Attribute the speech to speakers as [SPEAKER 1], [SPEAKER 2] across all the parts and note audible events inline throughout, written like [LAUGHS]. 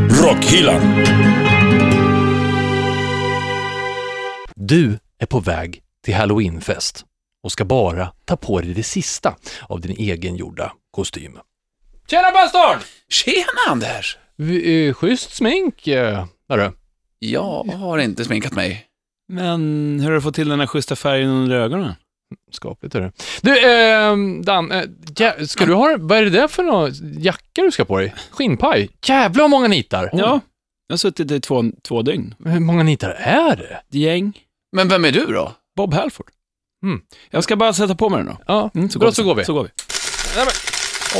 [SPEAKER 1] Rockhyllan.
[SPEAKER 2] Du är på väg till halloweenfest och ska bara ta på dig det sista av din egengjorda kostym. Tjena pastorn!
[SPEAKER 3] Tjena Anders!
[SPEAKER 2] Vi, eh, schysst smink, eh, hörru.
[SPEAKER 3] Jag har inte sminkat mig.
[SPEAKER 4] Men hur har du fått till den här schyssta färgen under ögonen?
[SPEAKER 2] Skapligt är det. Du, eh, Dan, eh, jä- ska du ha, vad är det där för någon jacka du ska på dig? Skinnpaj? Jävlar vad många nitar!
[SPEAKER 4] Ja, jag har suttit i två, två dygn.
[SPEAKER 2] Hur många nitar är det?
[SPEAKER 4] Ett gäng.
[SPEAKER 3] Men vem är du då?
[SPEAKER 4] Bob Halford. Hmm.
[SPEAKER 2] Mm.
[SPEAKER 4] Jag ska bara sätta på mig den då.
[SPEAKER 2] Ja,
[SPEAKER 4] Mm,
[SPEAKER 2] bra så går vi.
[SPEAKER 4] Så går vi.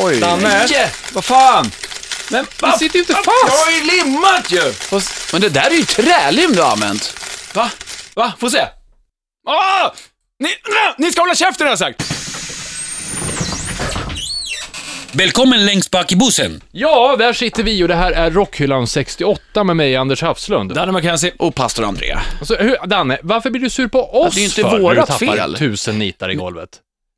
[SPEAKER 3] Oj.
[SPEAKER 4] Yeah. Vad fan! Men
[SPEAKER 2] Du
[SPEAKER 4] vad
[SPEAKER 2] sitter ju inte fast!
[SPEAKER 4] ju limmat ju!
[SPEAKER 3] Fast- Men det där är ju trälim du har använt.
[SPEAKER 4] Va? Va? Få se. Åh! Ni, ah! ni ska hålla käften har jag sagt!
[SPEAKER 1] Välkommen längst bak i bussen.
[SPEAKER 2] Ja, där sitter vi och det här är Rockhyllan 68 med mig, Anders Hafslund.
[SPEAKER 4] Danne McKenzie.
[SPEAKER 3] Och pastor Andrea.
[SPEAKER 2] Alltså, hur, Danne, varför blir du sur på oss
[SPEAKER 3] det är ju inte
[SPEAKER 2] för
[SPEAKER 3] vårat
[SPEAKER 2] när du tappar
[SPEAKER 3] fel.
[SPEAKER 2] tusen nitar i golvet?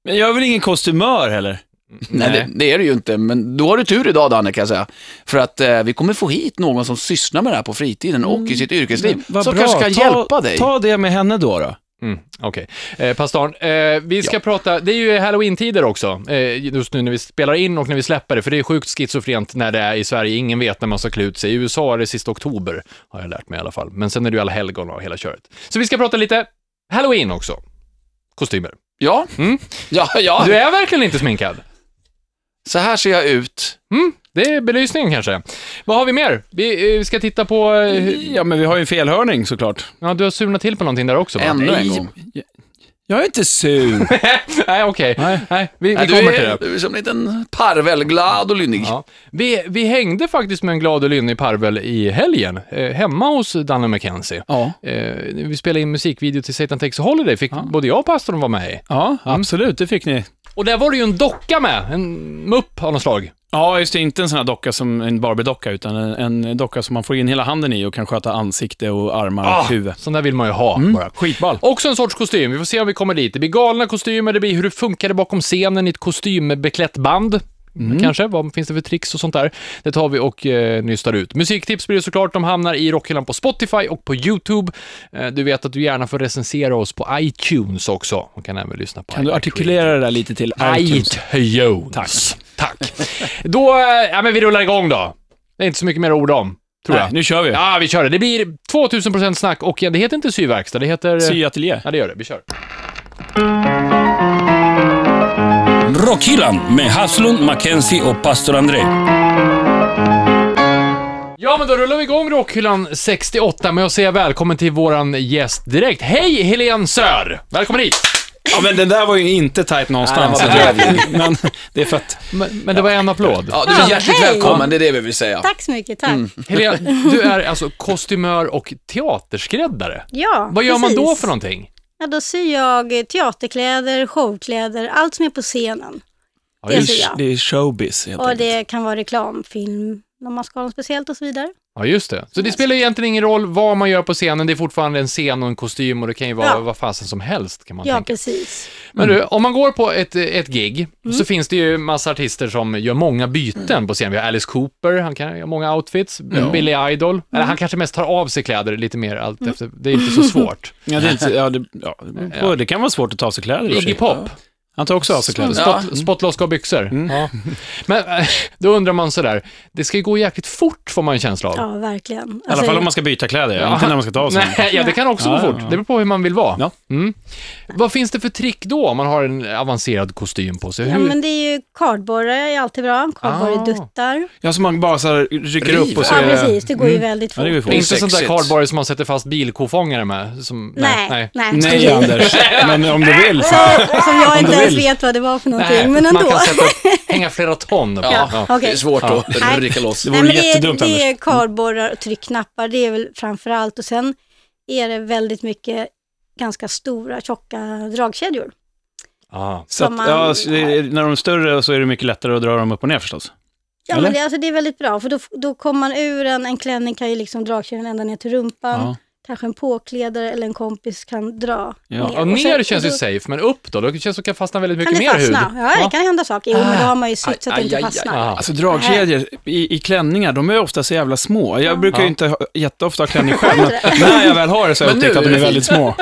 [SPEAKER 4] Men jag är väl ingen kostymör heller?
[SPEAKER 3] Nej,
[SPEAKER 2] Nej.
[SPEAKER 3] Det, det är det ju inte, men då har du tur idag Danne kan jag säga. För att eh, vi kommer få hit någon som sysslar med det här på fritiden
[SPEAKER 2] Mm,
[SPEAKER 3] och i sitt yrkesliv.
[SPEAKER 4] Vad
[SPEAKER 3] som
[SPEAKER 4] bra.
[SPEAKER 3] kanske kan
[SPEAKER 4] ta,
[SPEAKER 3] hjälpa dig.
[SPEAKER 4] Ta det med henne då. då.
[SPEAKER 2] Mm, Okej. Eh, pastorn, eh, vi ska prata, det är ju halloween-tider också, eh, just nu när vi spelar in och när vi släpper det, för det är sjukt schizofrent när det är i Sverige, ingen vet när man ska klä ut sig. I USA är det sista oktober, har jag lärt mig i alla fall. Men sen är det ju alla helgon och hela köret. Så vi ska prata lite halloween också. Kostymer.
[SPEAKER 3] Ja.
[SPEAKER 2] Mm.
[SPEAKER 3] ja, ja.
[SPEAKER 2] Du är verkligen inte sminkad.
[SPEAKER 3] Så här ser jag ut.
[SPEAKER 2] Mm, det är belysningen kanske. Vad har vi mer? Vi eh, ska titta på... eh,
[SPEAKER 4] Ja, men vi har ju en felhörning såklart.
[SPEAKER 2] Ja, du har surnat till på någonting där också, va?
[SPEAKER 3] Ännu en
[SPEAKER 4] Nej.
[SPEAKER 3] gång.
[SPEAKER 4] Jag är inte sur.
[SPEAKER 2] Nej, okej.
[SPEAKER 4] Nej.
[SPEAKER 2] Nej, vi, vi
[SPEAKER 3] Nej,
[SPEAKER 2] kommer
[SPEAKER 3] du,
[SPEAKER 2] till det.
[SPEAKER 3] är, du är som en liten parvel, glad och lynnig.
[SPEAKER 2] Ja. Vi, vi hängde faktiskt med en glad och lynnig parvel i helgen, eh, hemma hos Danne McKenzie.
[SPEAKER 4] [LAUGHS] ja.
[SPEAKER 2] Eh, vi spelade in musikvideo till Satan Takes a Holiday, fick både jag och pastorn vara med i.
[SPEAKER 4] Ja, absolut. Det fick ni.
[SPEAKER 2] Och där var det ju en docka med, en mupp av något slag.
[SPEAKER 4] Ja, just det. Inte en sån här docka som en Barbie-docka, utan en, en docka som man får in hela handen i och kan sköta ansikte och armar och huvud.
[SPEAKER 2] Sån där vill man ju ha bara.
[SPEAKER 4] Skitball.
[SPEAKER 2] Också en sorts kostym, vi får se om vi kommer dit. Det blir galna kostymer, det blir hur det funkade bakom scenen i ett kostymbeklätt band.
[SPEAKER 4] Mm.
[SPEAKER 2] Kanske, vad finns det för tricks och sånt där? Det tar vi och eh, nystar ut. Musiktips blir det såklart, de hamnar i rockhyllan på Spotify och på YouTube. Eh, du vet att du gärna får recensera oss på iTunes också. Man kan även lyssna på
[SPEAKER 4] Kan du artikulera det där lite till?
[SPEAKER 2] iTunes? iTunes. Tack. Tack. då, eh, ja men vi rullar igång då. Det är inte så mycket mer att orda om, tror
[SPEAKER 4] Nej,
[SPEAKER 2] jag.
[SPEAKER 4] nu kör vi.
[SPEAKER 2] Ja, vi kör det. Det blir 2000% snack och ja, det heter inte syverkstad, det heter...
[SPEAKER 4] Syateljé.
[SPEAKER 2] Ja, det gör det. Vi kör.
[SPEAKER 1] Rockhyllan med Haslund, Mackenzie och pastor André.
[SPEAKER 2] Ja, men då rullar vi igång Rockhyllan 68 med att säga välkommen till våran gäst direkt. Hej Helene Sör! Välkommen hit!
[SPEAKER 4] Ja, men den där var ju inte tight någonstans.
[SPEAKER 3] Nej, den
[SPEAKER 4] men det är för att...
[SPEAKER 2] Men, men det var en applåd.
[SPEAKER 3] Ja, du är
[SPEAKER 5] Ja,
[SPEAKER 3] hjärtligt
[SPEAKER 5] hej.
[SPEAKER 3] välkommen, det är det vi vill säga.
[SPEAKER 5] Tack så mycket, tack.
[SPEAKER 2] Helene, du är alltså kostymör och teaterskräddare.
[SPEAKER 5] Ja,
[SPEAKER 2] Vad gör man
[SPEAKER 5] precis.
[SPEAKER 2] då för någonting?
[SPEAKER 5] Ja, då syr jag eh, teaterkläder, showkläder, allt som är på scenen.
[SPEAKER 2] Ja,
[SPEAKER 5] det
[SPEAKER 2] just,
[SPEAKER 5] syr jag.
[SPEAKER 4] Det är showbiz, helt
[SPEAKER 5] Och
[SPEAKER 4] enkelt.
[SPEAKER 5] det kan vara reklamfilm, om man ska ha något speciellt och så vidare.
[SPEAKER 2] ja, just det. Så det spelar ju egentligen ingen roll vad man gör på scenen, det är fortfarande en scen och en kostym och det kan ju vara
[SPEAKER 5] Ja.
[SPEAKER 2] vad fasen som helst kan man
[SPEAKER 5] Ja,
[SPEAKER 2] tänka.
[SPEAKER 5] precis.
[SPEAKER 2] Men du, om man går på ett, ett gig så finns det ju massa artister som gör många byten på scen. Vi har Alice Cooper, han kan göra många outfits. Billy Idol, eller han kanske mest tar av sig kläder lite mer allt efter. Det är inte så svårt.
[SPEAKER 4] Ja, det, är [LAUGHS] inte, ja, det, ja, det beror på. det kan vara svårt att ta av sig kläder. i och för sig.
[SPEAKER 2] Iggy Pop,
[SPEAKER 4] Han tar också av sig kläder.
[SPEAKER 3] Ja.
[SPEAKER 2] spot, spottloska och byxor.
[SPEAKER 4] Mm.
[SPEAKER 2] Ja. [LAUGHS] Men eh, då undrar man sådär, det ska ju gå jäkligt fort får man en känsla av.
[SPEAKER 5] Ja, verkligen. Alltså,
[SPEAKER 4] I alla fall om man ska byta kläder, ja. inte när man ska ta av sig.
[SPEAKER 2] Nej, ja, det kan också
[SPEAKER 4] Ja,
[SPEAKER 2] gå
[SPEAKER 4] ja,
[SPEAKER 2] fort.
[SPEAKER 4] ja.
[SPEAKER 2] Det beror på hur man vill vara.
[SPEAKER 4] Ja.
[SPEAKER 2] Mm. Vad finns det för trick då om man har en avancerad kostym på sig?
[SPEAKER 5] Ja,
[SPEAKER 2] Hur-
[SPEAKER 5] men det är ju kardborrar är alltid bra, kardborreduttar.
[SPEAKER 4] Ja, som man bara så här rycker upp och så
[SPEAKER 5] Ja,
[SPEAKER 4] är det...
[SPEAKER 5] precis. Det går ju väldigt
[SPEAKER 4] eh, Ja,
[SPEAKER 5] fort.
[SPEAKER 4] det går
[SPEAKER 2] Det
[SPEAKER 4] ju
[SPEAKER 2] är
[SPEAKER 4] fort.
[SPEAKER 2] inte sånt där
[SPEAKER 3] Osexigt.
[SPEAKER 2] kardborre som man sätter fast bilkofångare med. Som,
[SPEAKER 5] Nej, nej.
[SPEAKER 4] Nej,
[SPEAKER 5] [LAUGHS]
[SPEAKER 4] Anders. Men om du vill så...
[SPEAKER 5] Som jag inte
[SPEAKER 4] du
[SPEAKER 5] ens
[SPEAKER 4] vill.
[SPEAKER 5] vet vad det var för någonting,
[SPEAKER 2] Nej,
[SPEAKER 5] men
[SPEAKER 2] man
[SPEAKER 5] ändå.
[SPEAKER 2] kan sätta,
[SPEAKER 5] [LAUGHS]
[SPEAKER 2] hänga flera ton. på.
[SPEAKER 3] Ja,
[SPEAKER 2] Ja.
[SPEAKER 5] Okej.
[SPEAKER 3] det är svårt att
[SPEAKER 5] Nej.
[SPEAKER 3] rycka loss.
[SPEAKER 4] Det vore
[SPEAKER 5] Nej, men det,
[SPEAKER 4] jättedumt,
[SPEAKER 5] är,
[SPEAKER 4] Anders.
[SPEAKER 5] det är kardborrar och tryckknappar, det är väl framför allt. Och sen är det väldigt mycket ganska stora, tjocka dragkedjor.
[SPEAKER 2] Ja.
[SPEAKER 4] Så att,
[SPEAKER 5] Som man-
[SPEAKER 4] ja, så det är, när de är större så är det mycket lättare att dra dem upp och ner förstås.
[SPEAKER 5] Ja,
[SPEAKER 4] Eller?
[SPEAKER 5] men det, alltså, det är väldigt bra, för då, då kommer man ur en, en klänning, kan ju liksom dragkedjan ända ner till rumpan.
[SPEAKER 4] Ja.
[SPEAKER 5] kanske en påklädare eller en kompis kan dra
[SPEAKER 4] Ja,
[SPEAKER 2] Ja,
[SPEAKER 5] Och
[SPEAKER 2] ner
[SPEAKER 5] sen-
[SPEAKER 2] känns ju
[SPEAKER 5] då
[SPEAKER 2] safe, men upp då? Då känns det som att det kan fastna väldigt
[SPEAKER 5] Kan
[SPEAKER 2] mycket
[SPEAKER 5] det
[SPEAKER 2] mer hud.
[SPEAKER 5] fastna? Ja, det kan hända saker. Jo, men då har man ju sytt så att
[SPEAKER 3] Aj,
[SPEAKER 5] det inte
[SPEAKER 3] aj, aj,
[SPEAKER 5] fastnar.
[SPEAKER 2] Aha.
[SPEAKER 4] Alltså dragkedjor i, i klänningar, de är ofta så jävla små. Jag brukar
[SPEAKER 2] Ja.
[SPEAKER 4] ju inte ha, jätteofta ha klänning själv,
[SPEAKER 5] [LAUGHS]
[SPEAKER 4] men [LAUGHS] när jag väl har det så har jag
[SPEAKER 3] Men nu
[SPEAKER 4] upptäckt att
[SPEAKER 3] är
[SPEAKER 4] de är
[SPEAKER 3] det
[SPEAKER 4] väldigt små.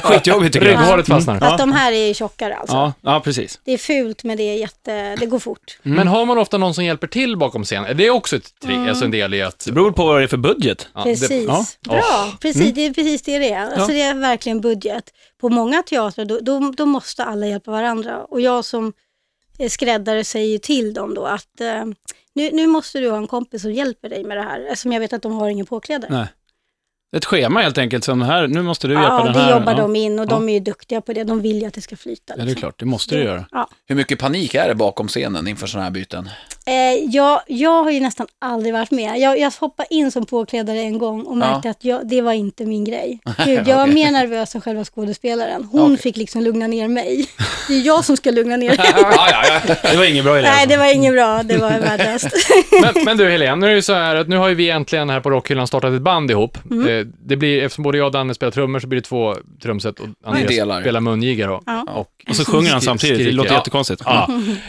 [SPEAKER 4] [LAUGHS] Skitjobbigt tycker jag.
[SPEAKER 2] Rygghåret fastnar.
[SPEAKER 5] Fast de här är ju tjockare alltså.
[SPEAKER 4] Ja, ja, precis.
[SPEAKER 5] Det är fult men det är jätte, det går fort.
[SPEAKER 2] Men har man ofta någon som hjälper till bakom scenen? Det är också ett trick, alltså en del i att...
[SPEAKER 4] Det beror på vad det är för budget.
[SPEAKER 2] Ja, det-
[SPEAKER 5] Precis,
[SPEAKER 4] ja. Mm.
[SPEAKER 5] bra. Precis, Det är precis det det är. Alltså, Det är verkligen budget. På många teatrar då, då, då måste alla hjälpa varandra. Och jag som eh, skräddare säger ju till dem då att eh, nu, nu måste du ha en kompis som hjälper dig med det här. Eftersom jag vet att de har ingen påklädare.
[SPEAKER 4] Nej. Ett schema helt enkelt, som här, nu måste du hjälpa
[SPEAKER 5] ja,
[SPEAKER 4] den
[SPEAKER 5] det
[SPEAKER 4] här.
[SPEAKER 5] jobbar
[SPEAKER 4] ja.
[SPEAKER 5] de in och de är ju duktiga på det. De vill ju att det ska flyta.
[SPEAKER 4] Ja, det är
[SPEAKER 5] liksom.
[SPEAKER 4] klart, det måste du göra.
[SPEAKER 5] Ja.
[SPEAKER 3] Hur mycket panik är det bakom scenen inför sådana här byten?
[SPEAKER 5] Eh, jag, jag har ju nästan aldrig varit med. Jag, jag hoppade in som påklädare en gång och märkte att jag, det var inte min grej. Gud, jag var mer nervös än själva skådespelaren. Hon fick liksom lugna ner mig. Det är jag som ska lugna ner henne.
[SPEAKER 4] Det var ingen bra idé.
[SPEAKER 5] Nej,
[SPEAKER 4] alltså.
[SPEAKER 5] det var inget bra. Det var värdelöst.
[SPEAKER 2] Men, men du Helene, nu är det ju så här att nu har ju vi äntligen här på Rockhyllan startat ett band ihop.
[SPEAKER 5] Mm.
[SPEAKER 2] Eh, Det blir, eftersom både jag och Danne spelar trummor så blir det två trumset och Andreas
[SPEAKER 3] delar.
[SPEAKER 2] spelar mungiga då.
[SPEAKER 5] Ja.
[SPEAKER 2] Och,
[SPEAKER 4] Och så sjunger han
[SPEAKER 2] skri-
[SPEAKER 4] samtidigt, det
[SPEAKER 2] skriker.
[SPEAKER 4] låter
[SPEAKER 2] Ja.
[SPEAKER 4] jättekonstigt.
[SPEAKER 2] Ja.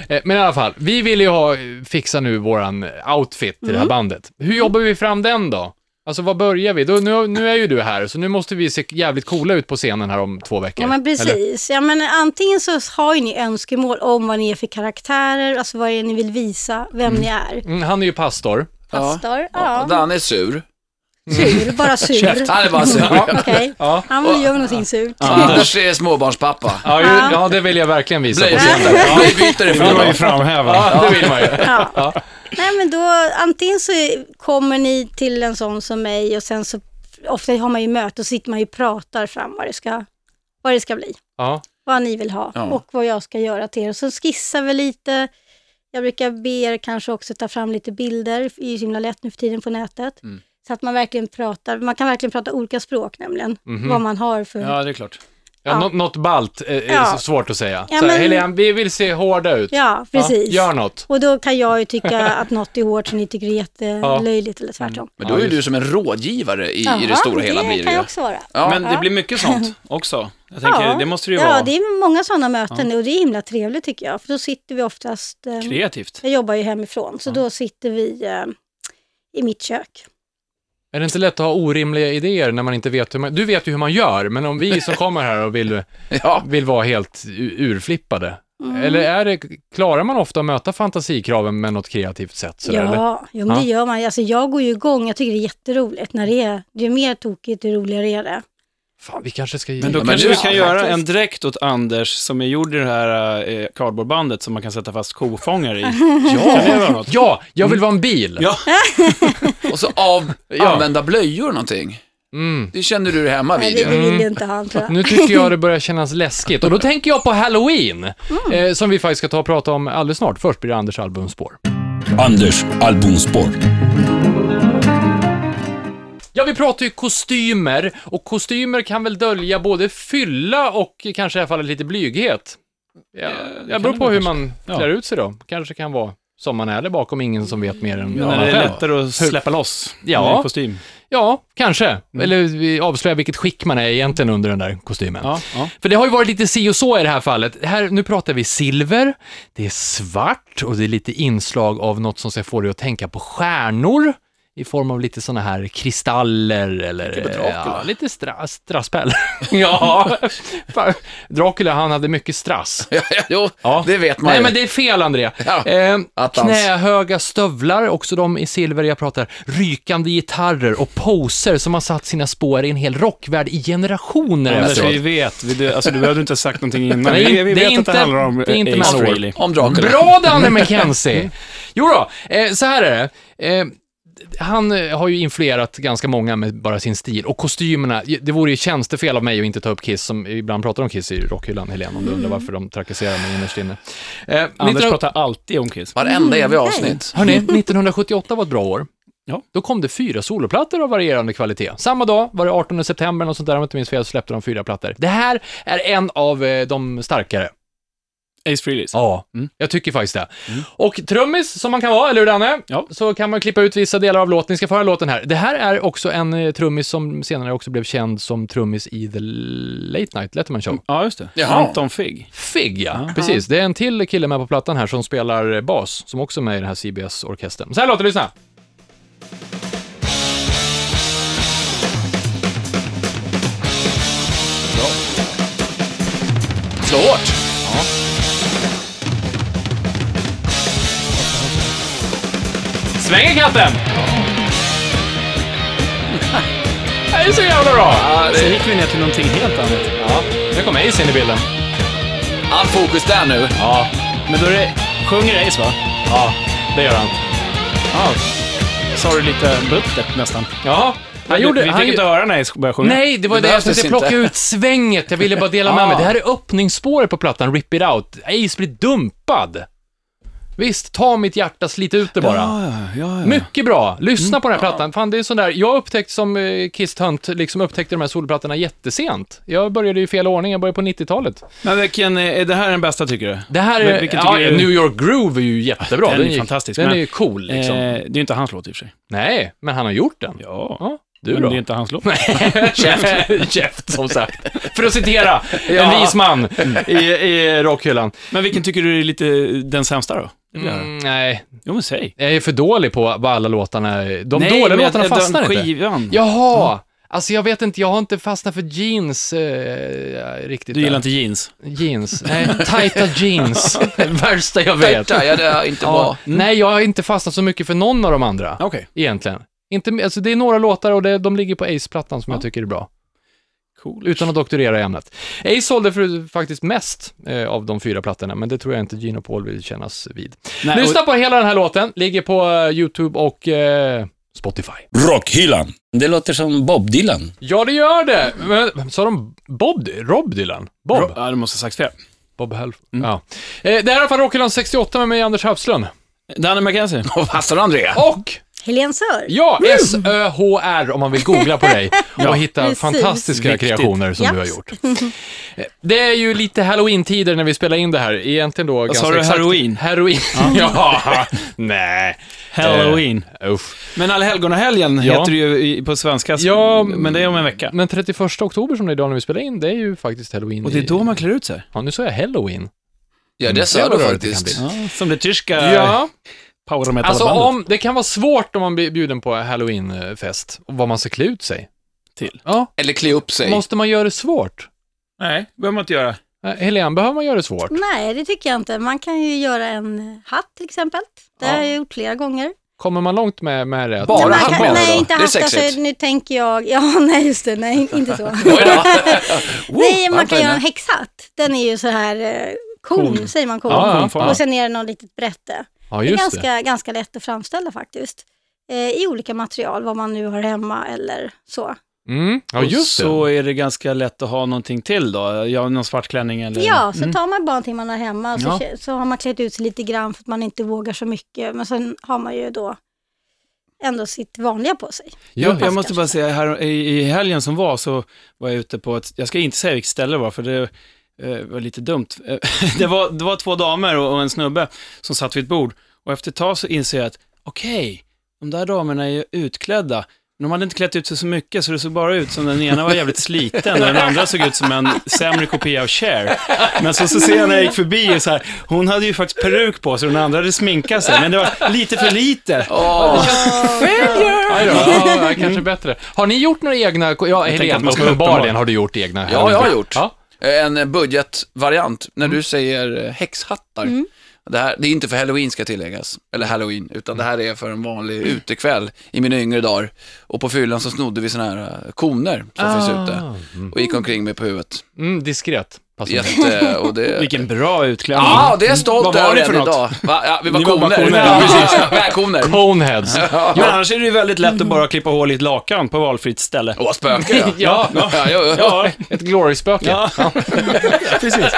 [SPEAKER 2] Eh, Men i alla fall, vi vill ju ha, eh, fixa nu våran eh, outfit till det
[SPEAKER 5] Mm.
[SPEAKER 2] här bandet. Hur jobbar vi fram den då? Alltså vad börjar vi? Då, nu, nu är ju du här, så nu måste vi se jävligt coola ut på scenen här om två veckor.
[SPEAKER 5] Ja, men precis. Ja, men antingen så har ju ni önskemål om vad ni är för karaktärer, alltså vad det är ni vill visa, vem ni är.
[SPEAKER 2] Mm, han är ju pastor.
[SPEAKER 5] Pastor, ja.
[SPEAKER 3] Ja. Dan är sur.
[SPEAKER 5] Sur, bara sur.
[SPEAKER 3] Han är bara sur.
[SPEAKER 5] [LAUGHS] Okej, han vill göra någonting surt.
[SPEAKER 3] Anders är småbarnspappa.
[SPEAKER 2] Ja, ju, ja, det vill jag verkligen visa på scenen.
[SPEAKER 3] Blöjbytare. Blöjbytare
[SPEAKER 4] Det vill man ju
[SPEAKER 3] från
[SPEAKER 4] framhäva.
[SPEAKER 2] Ja, det vill man ju.
[SPEAKER 5] Ja. Nej men då, antingen så kommer ni till en sån som mig och sen så, ofta har man ju möte och sitter man ju och pratar fram vad det ska, vad det ska bli,
[SPEAKER 2] Ja.
[SPEAKER 5] vad ni vill ha
[SPEAKER 3] Ja.
[SPEAKER 5] och vad jag ska göra till er. Och så skissar vi lite, jag brukar be er kanske också ta fram lite bilder, det är ju så himla lätt nu för tiden på nätet. Så att man verkligen pratar, man kan verkligen prata olika språk nämligen, vad man har för... Ja.
[SPEAKER 4] Ja, det är klart.
[SPEAKER 2] Ja, nå- Något balt eh, är, är
[SPEAKER 5] Ja.
[SPEAKER 2] så svårt att säga.
[SPEAKER 5] Ja,
[SPEAKER 2] så här,
[SPEAKER 5] men-
[SPEAKER 2] Helene, vi vill se hårda ut.
[SPEAKER 5] precis.
[SPEAKER 2] gör något.
[SPEAKER 5] Och då kan jag ju tycka att något är hårt som ni tycker är jättelöjligt eller tvärtom.
[SPEAKER 3] Men då är ju du som en rådgivare i, i det
[SPEAKER 5] Jaha,
[SPEAKER 3] stora hela blir
[SPEAKER 5] det kan
[SPEAKER 3] det
[SPEAKER 5] jag
[SPEAKER 3] ju.
[SPEAKER 5] också vara.
[SPEAKER 3] Ja.
[SPEAKER 4] Men det blir mycket sånt också. Jag tänker, det måste det ju
[SPEAKER 5] ja,
[SPEAKER 4] vara.
[SPEAKER 5] det är många sådana möten och det är himla trevligt tycker jag. För då sitter vi oftast, eh,
[SPEAKER 4] Kreativt.
[SPEAKER 5] jag jobbar ju hemifrån, så då sitter vi eh, i mitt kök.
[SPEAKER 2] Är det inte lätt att ha orimliga idéer när man inte vet hur man... Du vet ju hur man gör, men om vi som kommer här och vill,
[SPEAKER 3] [LAUGHS] Ja.
[SPEAKER 2] vill vara helt u- urflippade. Eller är det, klarar man ofta att möta fantasikraven med något kreativt sätt? Sådär, eller?
[SPEAKER 5] ja, jo, men det gör man. Alltså, jag går ju igång, jag tycker det är jätteroligt. När det är, ju mer tokigt, ju roligare är det.
[SPEAKER 2] Fan, vi kanske ska...
[SPEAKER 4] Men då
[SPEAKER 3] men
[SPEAKER 4] kanske
[SPEAKER 3] nu-
[SPEAKER 4] vi kan
[SPEAKER 5] ja,
[SPEAKER 4] göra
[SPEAKER 5] faktiskt.
[SPEAKER 4] en dräkt åt Anders som är gjord i det här eh, cardboardbandet som man kan sätta fast kofångare i. Kan det vara något?
[SPEAKER 2] Ja, jag vill vara en bil!
[SPEAKER 4] Ja.
[SPEAKER 3] Och så
[SPEAKER 2] [LAUGHS]
[SPEAKER 3] av, använda blöjor någonting.
[SPEAKER 2] Mm.
[SPEAKER 3] Det känner du dig hemma
[SPEAKER 5] Nej,
[SPEAKER 3] vid
[SPEAKER 5] det,
[SPEAKER 3] ju. [LAUGHS]
[SPEAKER 5] det vill ju inte han tror jag.
[SPEAKER 2] Nu tycker jag det börjar kännas läskigt och då tänker jag på Halloween, eh, som vi faktiskt ska ta och prata om alldeles snart. Först blir det Anders albumspår.
[SPEAKER 1] Anders albumspår.
[SPEAKER 2] Ja, vi pratar ju kostymer och kostymer kan väl dölja både fylla och kanske i alla fall lite blyghet. Ja, jag beror
[SPEAKER 4] det
[SPEAKER 2] på
[SPEAKER 4] väl
[SPEAKER 2] hur man
[SPEAKER 4] Ja.
[SPEAKER 2] klär ut sig då. Kanske kan vara som man är där bakom, ingen som vet mer än
[SPEAKER 4] Men
[SPEAKER 2] man
[SPEAKER 4] är det
[SPEAKER 2] själv.
[SPEAKER 4] lättare att släppa loss
[SPEAKER 2] Ja.
[SPEAKER 4] i kostym?
[SPEAKER 2] Ja, kanske. Eller vi avslöjar vilket skick man är egentligen under den där kostymen.
[SPEAKER 4] Ja, ja.
[SPEAKER 2] För det har ju varit lite si och så i det här fallet. Här, nu pratar vi silver, det är svart och det är lite inslag av något som ska få dig att tänka på stjärnor i form av lite sådana här kristaller eller
[SPEAKER 3] Dracula.
[SPEAKER 2] ja, lite stra, strasspärl. [LAUGHS] ja, Fan, Dracula han hade mycket strass.
[SPEAKER 3] Ja, ja, jo,
[SPEAKER 2] Ja.
[SPEAKER 3] det vet man
[SPEAKER 2] Nej
[SPEAKER 3] ju.
[SPEAKER 2] men det är fel Andrea.
[SPEAKER 3] Ja,
[SPEAKER 2] Eh,
[SPEAKER 3] attans.
[SPEAKER 2] knähöga stövlar, också de i silver jag pratar, rykande gitarrer och poser som har satt sina spår i en hel rockvärld i generationer
[SPEAKER 4] Anders,
[SPEAKER 2] efteråt.
[SPEAKER 4] vi vet. Vi, du- alltså, du behövde inte ha sagt någonting innan.
[SPEAKER 2] Nej,
[SPEAKER 4] vi, vi
[SPEAKER 2] det är
[SPEAKER 4] vet att
[SPEAKER 2] inte-
[SPEAKER 4] det handlar om
[SPEAKER 2] det är inte
[SPEAKER 4] Ace
[SPEAKER 2] Manowar.
[SPEAKER 4] Frehley.
[SPEAKER 3] Om Dracula.
[SPEAKER 2] Bra Danne McKenzie! Jo då, eh, så här är det. Eh, han eh, har ju influerat ganska många med bara sin stil och kostymerna. Det vore ju tjänstefel av mig att inte ta upp Kiss, som ibland pratar om Kiss i rockhyllan, Helene, om du undrar varför de trakasserar mig innerst inne. Eh,
[SPEAKER 4] Anders
[SPEAKER 2] 19
[SPEAKER 4] pratar alltid om Kiss.
[SPEAKER 3] Varenda
[SPEAKER 5] Mm,
[SPEAKER 3] evig avsnitt.
[SPEAKER 2] Hörni, 1978 var ett bra år.
[SPEAKER 4] Mm. Ja.
[SPEAKER 2] Då kom det fyra soloplattor av varierande kvalitet. Samma dag, var det 18 september, och sånt där, om jag inte minns fel, så släppte de fyra plattor. Det här är en av eh, de starkare.
[SPEAKER 4] Ace Frehleys.
[SPEAKER 2] Ja, jag tycker faktiskt det. Och trummis, som man kan vara, eller hur Danne?
[SPEAKER 4] Mm. Ja.
[SPEAKER 2] Så kan man klippa ut vissa delar av låten. Ni ska få höra låten här. Det här är också en eh, trummis som senare också blev känd som trummis i The Late Night Letterman Show.
[SPEAKER 4] Ja, just det.
[SPEAKER 3] Jaha.
[SPEAKER 4] Anton Figg.
[SPEAKER 2] Figg, ja. Precis. Det är en till kille med på plattan här som spelar eh, bas, som också är med i den här CBS-orkestern. Så här låter det, lyssna!
[SPEAKER 3] Slå hårt!
[SPEAKER 2] Svänger katten! Det är så jävla bra!
[SPEAKER 4] Sen gick vi ner till någonting helt annat.
[SPEAKER 2] Ja, nu kommer Ace in i bilden.
[SPEAKER 3] Allt fokus där nu.
[SPEAKER 2] Ja,
[SPEAKER 4] Men då är det, sjunger Ace va?
[SPEAKER 2] ja, det gör han.
[SPEAKER 4] Ja. Sa du lite buttert nästan?
[SPEAKER 2] Ja, han gjorde...
[SPEAKER 4] vi
[SPEAKER 2] han
[SPEAKER 4] fick
[SPEAKER 2] ju-
[SPEAKER 4] inte höra när Ace började sjunga.
[SPEAKER 2] Nej, det var
[SPEAKER 3] Det
[SPEAKER 2] det jag
[SPEAKER 3] behövdes
[SPEAKER 2] tänkte plocka
[SPEAKER 3] inte.
[SPEAKER 2] ut svänget. Jag ville bara dela med
[SPEAKER 4] Ah.
[SPEAKER 2] mig. Det här är öppningsspåret på plattan Rip It Out. Ace blir dumpad. Visst, ta mitt hjärta, slit ut det bara.
[SPEAKER 4] Ja, ja, ja. Mm. ja.
[SPEAKER 2] Mycket bra. Lyssna på den här plattan. Fan, det är sån där, jag upptäckte som eh, Kiss Hunt, liksom upptäckte de här solplattorna jättesent. Jag började i fel ordning, jag började på 90-talet.
[SPEAKER 4] Men vilken, eh, är är det här den bästa tycker du?
[SPEAKER 2] Det här
[SPEAKER 4] Vil-
[SPEAKER 2] är,
[SPEAKER 4] vilken
[SPEAKER 2] ja,
[SPEAKER 4] tycker du-
[SPEAKER 2] New York Groove är ju jättebra.
[SPEAKER 4] Den är
[SPEAKER 2] ju-
[SPEAKER 4] fantastisk,
[SPEAKER 2] Den
[SPEAKER 4] men-
[SPEAKER 2] är ju cool liksom.
[SPEAKER 4] Eh, det är ju inte hans låt i och för sig.
[SPEAKER 2] Nej, men han har gjort den.
[SPEAKER 4] Ja.
[SPEAKER 2] Ja, du
[SPEAKER 4] Men
[SPEAKER 2] då?
[SPEAKER 4] det är inte hans låt.
[SPEAKER 2] [LAUGHS] Käft. Käft, som sagt. För att citera en vis man i, i rockhyllan.
[SPEAKER 4] Men vilken tycker du är lite den sämsta då? Det vill jag höra.
[SPEAKER 2] Mm, nej,
[SPEAKER 4] Jo, men säg.
[SPEAKER 2] jag är för dålig på vad alla låtarna... De
[SPEAKER 4] Nej,
[SPEAKER 2] dåliga
[SPEAKER 4] men
[SPEAKER 2] låtarna
[SPEAKER 4] jag- jag-
[SPEAKER 2] fastnar
[SPEAKER 4] den
[SPEAKER 2] inte.
[SPEAKER 4] Skivan.
[SPEAKER 2] Jaha! Alltså jag vet inte, jag har inte fastnat för jeans eh, riktigt.
[SPEAKER 4] Du gillar
[SPEAKER 2] än.
[SPEAKER 4] inte jeans?
[SPEAKER 2] Jeans. [LAUGHS] Nej, tajta [LAUGHS] jeans. Värsta jag vet.
[SPEAKER 3] Tajta, ja det är inte
[SPEAKER 2] Ja. [LAUGHS]
[SPEAKER 3] bra.
[SPEAKER 2] Nej, jag har inte fastnat så mycket för någon av de andra,
[SPEAKER 4] Okej.
[SPEAKER 2] egentligen. Inte, alltså det är några låtar och det, de ligger på Ace-plattan som jag tycker är bra,
[SPEAKER 4] Cool.
[SPEAKER 2] utan att doktorera i ämnet. Ace sålde för, faktiskt mest eh, av de fyra plattorna, men det tror jag inte Gino Paul vill kännas vid.
[SPEAKER 4] Nej,
[SPEAKER 2] Lyssna på hela den här låten, ligger på eh, YouTube och eh, Spotify.
[SPEAKER 1] Rockhyllan. Det låter som Bob Dylan.
[SPEAKER 2] Ja, det gör det! Men, vem sa de Bob? Rob Dylan?
[SPEAKER 4] och,
[SPEAKER 2] Bob?
[SPEAKER 4] Rob, ja, du måste ha sagt fel.
[SPEAKER 2] Bob Half. Ja. Eh, det här är i alla fall Rockyland 68 med mig, Anders Hafslund.
[SPEAKER 4] Danny McKenzie.
[SPEAKER 3] Och Pastor André.
[SPEAKER 2] Och
[SPEAKER 5] Helen Sör.
[SPEAKER 2] Ja, S-Ö-H-R om man vill googla på dig och hitta
[SPEAKER 5] Precis.
[SPEAKER 2] fantastiska
[SPEAKER 4] Viktigt.
[SPEAKER 2] kreationer som du har
[SPEAKER 5] Japs.
[SPEAKER 2] gjort. Det är ju lite halloween-tider när vi spelar in det här. Egentligen då ganska
[SPEAKER 4] sa du,
[SPEAKER 2] exakt-
[SPEAKER 4] heroin?
[SPEAKER 2] Heroin. [LAUGHS] Ja, nej.
[SPEAKER 4] Halloween.
[SPEAKER 2] Usch.
[SPEAKER 4] Men allhelgonahelgen
[SPEAKER 2] Ja.
[SPEAKER 4] heter det ju i- på svenska,
[SPEAKER 2] Ja,
[SPEAKER 4] men det är om en vecka.
[SPEAKER 2] Men 31 oktober som det är idag när vi spelar in, det är ju faktiskt halloween.
[SPEAKER 4] Och det är då man klär ut sig.
[SPEAKER 2] i- Ja, nu sa jag halloween.
[SPEAKER 3] Ja, det
[SPEAKER 2] Det
[SPEAKER 3] sa
[SPEAKER 2] var
[SPEAKER 3] du
[SPEAKER 2] Mm. det
[SPEAKER 3] faktiskt.
[SPEAKER 2] det kan
[SPEAKER 4] Som det tyska
[SPEAKER 2] Ja,
[SPEAKER 4] power metal
[SPEAKER 2] alltså
[SPEAKER 4] bandet
[SPEAKER 2] om, det kan vara svårt om man blir bjuden på halloweenfest, och vad man ska klä ut sig.
[SPEAKER 4] till.
[SPEAKER 2] Ja,
[SPEAKER 3] Eller klä upp sig.
[SPEAKER 2] måste man göra det svårt?
[SPEAKER 4] Nej, behöver man inte göra.
[SPEAKER 2] Eh, Helene, behöver man göra det svårt?
[SPEAKER 5] Nej, det tycker jag inte. Man kan ju göra en hatt till exempel. Det har
[SPEAKER 2] Ja.
[SPEAKER 5] jag gjort flera gånger.
[SPEAKER 2] Kommer man långt med, med det?
[SPEAKER 3] Bara
[SPEAKER 5] man
[SPEAKER 3] hatt
[SPEAKER 5] kan,
[SPEAKER 3] menar du
[SPEAKER 5] Nej,
[SPEAKER 3] då?
[SPEAKER 5] inte
[SPEAKER 3] Det är
[SPEAKER 5] hatt.
[SPEAKER 3] sexigt.
[SPEAKER 5] Alltså, nu tänker jag... Ja, [LAUGHS] nej, just det. Nej, inte så. [LAUGHS] nej, man
[SPEAKER 3] varmt
[SPEAKER 5] kan
[SPEAKER 3] inne.
[SPEAKER 5] göra en häxhatt. Den är ju så här... eh, Kon, säger man kon.
[SPEAKER 2] Ja, ja, fan.
[SPEAKER 5] Och sen är det något litet brätte.
[SPEAKER 2] Ja,
[SPEAKER 5] det är
[SPEAKER 2] just det.
[SPEAKER 5] ganska, ganska lätt att framställa faktiskt. Eh, I olika material, vad man nu har hemma eller så.
[SPEAKER 2] Mm. Ja,
[SPEAKER 4] och
[SPEAKER 2] just
[SPEAKER 4] så
[SPEAKER 2] det.
[SPEAKER 4] är det ganska lätt att ha någonting till då. Ja, någon svart klänning eller...
[SPEAKER 5] Ja, så tar man bara någonting man har hemma och så,
[SPEAKER 4] Ja.
[SPEAKER 5] kä- så har man klätt ut sig lite grann för att man inte vågar så mycket. Men sen har man ju då ändå sitt vanliga på sig.
[SPEAKER 2] Ja,
[SPEAKER 4] jag,
[SPEAKER 2] ja.
[SPEAKER 4] jag måste bara säga, här, i, i helgen som var så var jag ute på ett, jag ska inte säga vilket ställe det var, för det eh, var lite dumt. Eh, [LAUGHS] det, var, det var två damer och, och en snubbe som satt vid ett bord och efter ett tag så inser jag att, okej, de där damerna är ju utklädda. Men De hade inte klätt ut sig så mycket, så det såg bara ut som den ena var jävligt sliten och den andra såg ut som en sämre kopia av Cher. Men så, så ser jag när jag gick förbi, så här, hon hade ju faktiskt peruk på sig och den andra hade sminkat sig, men det var lite för lite.
[SPEAKER 3] Åh,
[SPEAKER 2] Aj då, ja, ja, kanske bättre. Har ni gjort några egna, ja,
[SPEAKER 4] tänker att
[SPEAKER 2] Helene,
[SPEAKER 4] man ska vara
[SPEAKER 2] uppenbarligen
[SPEAKER 4] uppenbar.
[SPEAKER 2] har du gjort egna.
[SPEAKER 3] Ja, jag har gjort.
[SPEAKER 2] Ja.
[SPEAKER 3] Eh, En budgetvariant. När
[SPEAKER 4] Mm.
[SPEAKER 3] du säger eh, häxhattar. Det, här, det är inte för halloween ska tilläggas, eller halloween, utan det här är för en vanlig
[SPEAKER 4] Mm.
[SPEAKER 3] utekväll i mina yngre dagar. Och på fyllan så snodde vi såna här eh, koner som
[SPEAKER 4] Ah.
[SPEAKER 3] finns ute
[SPEAKER 4] Mm.
[SPEAKER 3] och gick omkring med på huvudet.
[SPEAKER 2] Mm, diskret. Passar mig.
[SPEAKER 3] Jätte, och det,
[SPEAKER 4] [LAUGHS] Vilken bra utklädning.
[SPEAKER 3] Ja, det är jag stolt
[SPEAKER 4] Vad var
[SPEAKER 3] över
[SPEAKER 4] det för
[SPEAKER 3] än
[SPEAKER 4] något?
[SPEAKER 3] idag. Va? Ja, vi var
[SPEAKER 4] Ni var bara
[SPEAKER 3] koner.
[SPEAKER 4] koner,
[SPEAKER 3] Ja,
[SPEAKER 4] [LAUGHS] ja,
[SPEAKER 3] precis. Välkoner.
[SPEAKER 2] Coneheads.
[SPEAKER 4] Men annars är det ju väldigt lätt att bara klippa hål i ett lakan på valfritt ställe.
[SPEAKER 3] Åh, spöke ja.
[SPEAKER 2] Ja,
[SPEAKER 3] ja, ja, ja.
[SPEAKER 4] Ja,
[SPEAKER 2] ett glory-spöke.
[SPEAKER 4] ja. [LAUGHS] precis.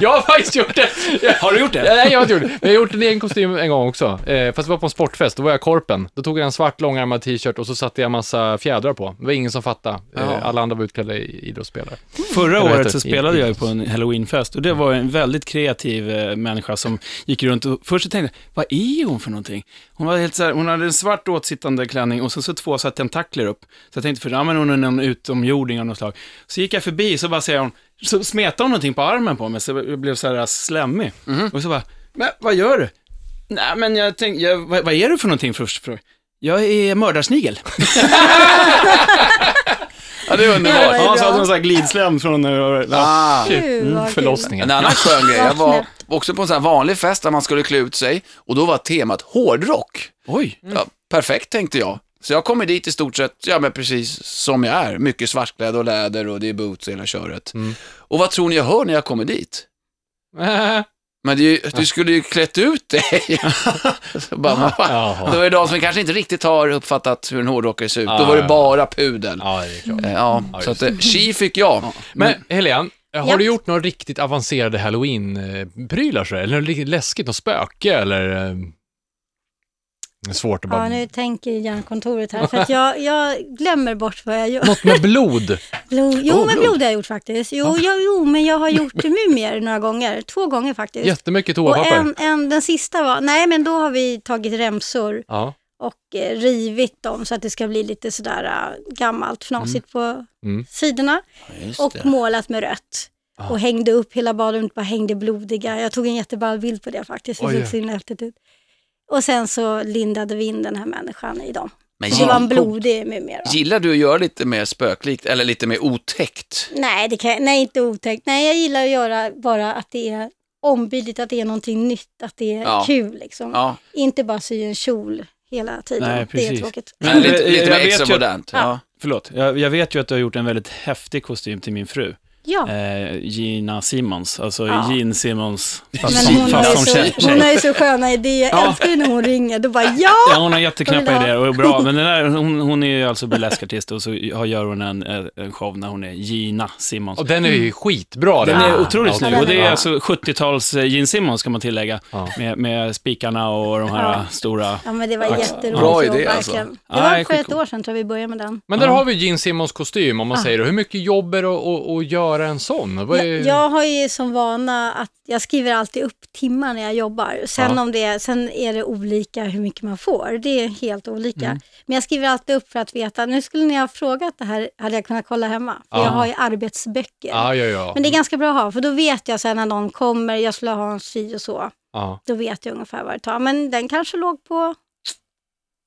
[SPEAKER 2] Jag har faktiskt gjort det. Jag-
[SPEAKER 4] Har du gjort
[SPEAKER 2] Ja,
[SPEAKER 4] det?
[SPEAKER 2] Nej, jag har inte gjort det. Men jag har gjort en egen kostym en gång också. Eh, fast det var på en sportfest, då var jag korpen. Då tog jag en svart långärmad t-shirt och så satte jag massa fjädrar på. Det var ingen som fattade. Eh, alla andra var utklädda i idrottsspelare.
[SPEAKER 4] Förra
[SPEAKER 2] Eller vad
[SPEAKER 4] året
[SPEAKER 2] heter
[SPEAKER 4] så
[SPEAKER 2] det?
[SPEAKER 4] spelade jag ju på en en halloweenfest. Och det var en väldigt kreativ eh, människa som gick runt och först så tänkte jag, vad är hon för någonting? Hon, var helt så här, hon hade en svart åtsittande klänning och så, så två så här, tentakler upp. Så jag tänkte, för ja, men hon är någon utomjording av något slag. Så gick jag förbi, så bara säger hon, så smetade hon någonting på armen på mig, så jag blev så här slemmig. Och så bara, men vad gör du? Nej, men jag tänkte, jag, vad, vad är du för någonting först? frågade Jag Jag är mördarsnigel.
[SPEAKER 3] Ja, det är
[SPEAKER 5] Ja,
[SPEAKER 3] underbart.
[SPEAKER 5] det är
[SPEAKER 4] Ja, så
[SPEAKER 5] bra.
[SPEAKER 4] hade hon så här glidslem från... eh, Ja.
[SPEAKER 3] Ah.
[SPEAKER 5] Gud,
[SPEAKER 2] Mm,
[SPEAKER 5] vad kul.
[SPEAKER 2] Förlossningen.
[SPEAKER 3] En annan skön grej, jag var
[SPEAKER 5] knäppt.
[SPEAKER 3] också på en sån här vanlig fest där man skulle klä ut sig och då var temat hårdrock.
[SPEAKER 4] Oj.
[SPEAKER 5] Mm.
[SPEAKER 3] Ja, perfekt tänkte jag. Så jag kommer dit i stort sett, ja men precis som jag är. Mycket svartklädd och läder och det är boots och hela köret.
[SPEAKER 2] Mm.
[SPEAKER 3] Och vad tror ni jag hör när jag kommer
[SPEAKER 2] [LAUGHS]
[SPEAKER 3] dit? Men det är ju, du skulle ju klätt ut dig. [LAUGHS] Så bara, man,
[SPEAKER 2] Jaha.
[SPEAKER 3] då är det de som kanske inte riktigt har uppfattat hur en hårdrockare ser ut. Då
[SPEAKER 2] Ah,
[SPEAKER 3] var det
[SPEAKER 2] ja.
[SPEAKER 3] bara pudel.
[SPEAKER 2] Ja, det är klart.
[SPEAKER 3] Eh, Ja, så att eh, chi fick jag.
[SPEAKER 2] Men Helene, har
[SPEAKER 5] Ja.
[SPEAKER 2] du gjort några riktigt avancerade halloween-prylar sådär? Eller något riktigt läskigt, något spöke eller? eh, Det är svårt att bara...
[SPEAKER 5] Ja, nu tänker hjärnkontoret här, för
[SPEAKER 2] [LAUGHS]
[SPEAKER 5] att jag, jag glömmer bort vad jag gör.
[SPEAKER 2] Något med
[SPEAKER 5] [LAUGHS]
[SPEAKER 2] Oh, blod.
[SPEAKER 5] Blod. Jo,
[SPEAKER 3] Åh,
[SPEAKER 5] men
[SPEAKER 3] blod.
[SPEAKER 5] blod har jag gjort faktiskt. Jo, jag, jo, men jag har gjort mumier några gånger. Två gånger faktiskt.
[SPEAKER 2] Jättemycket
[SPEAKER 5] och
[SPEAKER 2] toapapper.
[SPEAKER 5] en, en, den sista var, nej men då har vi tagit remsor
[SPEAKER 2] Ja.
[SPEAKER 5] och eh, rivit dem så att det ska bli lite sådär äh, gammalt fnasigt på
[SPEAKER 2] Mm.
[SPEAKER 5] sidorna.
[SPEAKER 3] Just
[SPEAKER 5] Och
[SPEAKER 3] det.
[SPEAKER 5] målat med rött.
[SPEAKER 2] Ah.
[SPEAKER 5] Och hängde upp hela badrummet, bara hängde blodiga. Jag tog en jätteball bild på det faktiskt, det
[SPEAKER 2] Oj,
[SPEAKER 5] såg
[SPEAKER 2] ja.
[SPEAKER 5] så himla häftigt ut. Och sen så lindade vi in den här människan i dem.
[SPEAKER 3] Men
[SPEAKER 5] Så det var en
[SPEAKER 3] gill-
[SPEAKER 5] blodig mumie då.
[SPEAKER 3] Gillar du att göra lite mer spöklikt eller lite mer otäckt?
[SPEAKER 5] Nej, det kan, jag- nej, inte otäckt. Nej, jag gillar att göra bara att det är ombytligt, att det är någonting nytt, att det är
[SPEAKER 3] Ja.
[SPEAKER 5] kul liksom.
[SPEAKER 3] Ja,
[SPEAKER 5] Inte bara sy en kjol hela tiden.
[SPEAKER 4] Nej,
[SPEAKER 5] det är
[SPEAKER 4] precis.
[SPEAKER 5] tråkigt.
[SPEAKER 3] men lite,
[SPEAKER 4] jag-
[SPEAKER 3] lite
[SPEAKER 4] jag
[SPEAKER 3] mer
[SPEAKER 4] vet
[SPEAKER 3] extra
[SPEAKER 4] ju-
[SPEAKER 3] modernt. Ja.
[SPEAKER 4] Förlåt, jag, jag vet ju att du har gjort en väldigt häftig kostym till min fru.
[SPEAKER 5] Ja,
[SPEAKER 4] Eh, Gina Simons, alltså
[SPEAKER 5] Ja.
[SPEAKER 4] Jean Simons, fast,
[SPEAKER 5] men hon har,
[SPEAKER 4] fast
[SPEAKER 5] ju
[SPEAKER 4] som tjej.
[SPEAKER 5] så, hon har ju så sköna idéer. Jag
[SPEAKER 4] Ja.
[SPEAKER 5] älskar ju när hon ringer. Då bara
[SPEAKER 4] Ja,
[SPEAKER 5] ja!
[SPEAKER 4] hon har jätteknäppa
[SPEAKER 5] Vill du ha?
[SPEAKER 4] idéer och är bra. Men den där, hon, hon är ju alltså burleskartist och så har- gör hon en, eh, en show när hon är Gina Simons.
[SPEAKER 2] Och den är ju skitbra
[SPEAKER 4] Den är
[SPEAKER 2] där.
[SPEAKER 4] otroligt
[SPEAKER 2] Ja,
[SPEAKER 4] snygg
[SPEAKER 2] okej.
[SPEAKER 4] och det är
[SPEAKER 2] Ja.
[SPEAKER 4] alltså 70-tals eh, Gene Simons kan man tillägga.
[SPEAKER 2] Ja.
[SPEAKER 4] Med, med spikarna och de här
[SPEAKER 5] Ja.
[SPEAKER 4] eh, stora...
[SPEAKER 5] Ja, men det var jätteroligt.
[SPEAKER 3] Bra
[SPEAKER 5] så
[SPEAKER 3] idé, alltså.
[SPEAKER 5] verkligen. Det
[SPEAKER 4] Ja, det är
[SPEAKER 5] var för ett
[SPEAKER 4] skitcoolt.
[SPEAKER 5] år sedan tror jag vi började med den.
[SPEAKER 2] Men där har vi Gene Simmons kostym, om man säger det. Hur mycket jobb är det att- att, att göra en sån? Vad är...
[SPEAKER 5] Jag har ju som vana att jag skriver alltid upp timmar när jag jobbar. Sen,
[SPEAKER 2] Ja.
[SPEAKER 5] om det, sen är det olika hur mycket man får. Det är helt olika.
[SPEAKER 2] Mm.
[SPEAKER 5] Men jag skriver alltid upp för att veta. Nu skulle ni ha frågat det här, hade jag kunnat kolla hemma. För
[SPEAKER 2] Ja.
[SPEAKER 5] jag har ju arbetsböcker.
[SPEAKER 2] Ja, Mm. ja, ja.
[SPEAKER 5] Men det är ganska bra att ha, för då vet jag sen när någon kommer, jag skulle ha en sy och så.
[SPEAKER 2] ja.
[SPEAKER 5] Då vet jag ungefär vad det tar. Men den kanske låg på...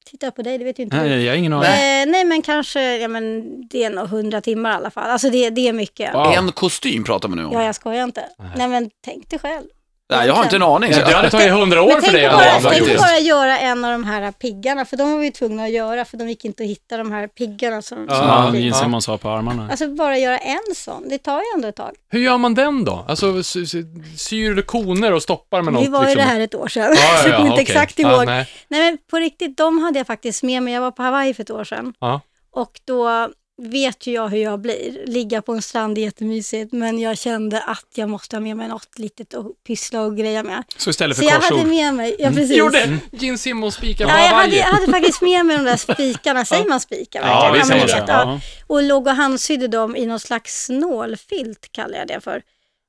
[SPEAKER 5] Titta på dig, det vet ju inte du.
[SPEAKER 4] Nej, jag har ingen aning.
[SPEAKER 5] Nej. Eh, nej, men kanske, ja men det är nog hundra timmar i alla fall. Alltså det, det är mycket.
[SPEAKER 2] Wow.
[SPEAKER 3] En kostym pratar man nu om.
[SPEAKER 5] Ja, jag skojar inte. Nej, men tänk dig själv.
[SPEAKER 3] Nej, jag har inte en aning. Så.
[SPEAKER 2] Det hade tagit hundra år
[SPEAKER 5] Men
[SPEAKER 2] för
[SPEAKER 5] tänk
[SPEAKER 2] dig
[SPEAKER 5] bara,
[SPEAKER 3] ändå,
[SPEAKER 2] Anna,
[SPEAKER 5] tänk
[SPEAKER 2] faktiskt.
[SPEAKER 5] bara göra en av de här piggarna, för de var vi tvungna att göra, för de gick inte att hitta de här piggarna som...
[SPEAKER 2] Ja.
[SPEAKER 4] Som
[SPEAKER 5] som var
[SPEAKER 4] Gene
[SPEAKER 5] fina.
[SPEAKER 4] Simons har på armarna.
[SPEAKER 5] Alltså bara göra en sån, det tar ju ändå ett tag.
[SPEAKER 2] Hur gör man den då? Alltså, sy- sy- syr du koner och stoppar med något?
[SPEAKER 5] det var ju
[SPEAKER 2] liksom?
[SPEAKER 5] det här ett år sedan,
[SPEAKER 2] Ja, ja,
[SPEAKER 5] [LAUGHS] så jag kommer
[SPEAKER 2] ja,
[SPEAKER 5] Typ inte
[SPEAKER 2] okej.
[SPEAKER 5] exakt
[SPEAKER 2] Ja,
[SPEAKER 5] ihåg.
[SPEAKER 2] nej.
[SPEAKER 5] Nej men på riktigt, de hade jag faktiskt med mig. Jag var på Hawaii för ett år sedan.
[SPEAKER 2] Ja.
[SPEAKER 5] Och då vet ju jag hur jag blir. Ligga på en strand är jättemysigt, men jag kände att jag måste ha med mig något litet att pyssla och greja med.
[SPEAKER 4] Så istället
[SPEAKER 5] Så
[SPEAKER 4] för
[SPEAKER 5] jag hade
[SPEAKER 4] korsord.
[SPEAKER 5] med mig, ja precis.
[SPEAKER 2] Mm. Gjorde Gene Simmons spikar på
[SPEAKER 5] Ja, jag hade,
[SPEAKER 2] Hawaii.
[SPEAKER 5] jag hade faktiskt med mig de där spikarna, säger man spikar?
[SPEAKER 2] Ja,
[SPEAKER 5] verkligen?
[SPEAKER 2] vi
[SPEAKER 5] men
[SPEAKER 2] säger
[SPEAKER 5] du
[SPEAKER 2] så.
[SPEAKER 5] vet,
[SPEAKER 4] Ja.
[SPEAKER 5] Och låg och handsydde dem i någon slags nålfilt, kallar jag det för.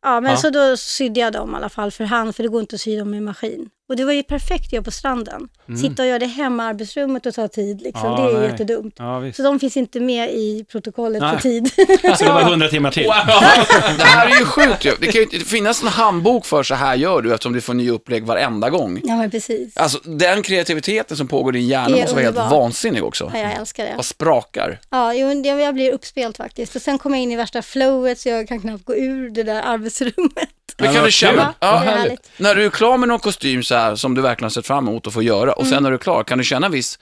[SPEAKER 5] Ja, men så då sydde jag dem i alla fall för hand, för det går inte att sy dem med maskin. Och det var ju perfekt att göra på stranden. Sitta och göra det hemma i arbetsrummet och ta tid, liksom.
[SPEAKER 4] Mm. Ja,
[SPEAKER 5] det är
[SPEAKER 4] nej.
[SPEAKER 5] jättedumt.
[SPEAKER 4] Ja, visst.
[SPEAKER 5] Så de finns inte med i protokollet
[SPEAKER 4] Nej.
[SPEAKER 5] för tid.
[SPEAKER 4] [LAUGHS] Så det var 100 timmar till.
[SPEAKER 3] Det här är ju sjukt ju. Det kan ju inte finnas en handbok för så här gör du eftersom du får nya upplägg varenda gång.
[SPEAKER 5] ja, men precis.
[SPEAKER 3] Alltså den kreativiteten som pågår i din hjärna
[SPEAKER 5] Det är
[SPEAKER 3] måste vara helt
[SPEAKER 5] underbart.
[SPEAKER 3] vansinnig också.
[SPEAKER 5] Ja, jag älskar det.
[SPEAKER 3] Vad sprakar.
[SPEAKER 5] Ja, jo, det- jag blir uppspelt faktiskt. Och sen kommer jag in i värsta flowet så jag kan knappt gå ur det där arbetsrummet.
[SPEAKER 3] Men kan
[SPEAKER 4] vad
[SPEAKER 3] du känna,
[SPEAKER 5] Ja, det
[SPEAKER 3] ja,
[SPEAKER 5] är härligt.
[SPEAKER 3] när du är klar med någon kostym så här som du verkligen har sett fram emot att få göra och
[SPEAKER 5] Mm.
[SPEAKER 3] sen när du är klar, kan du känna en viss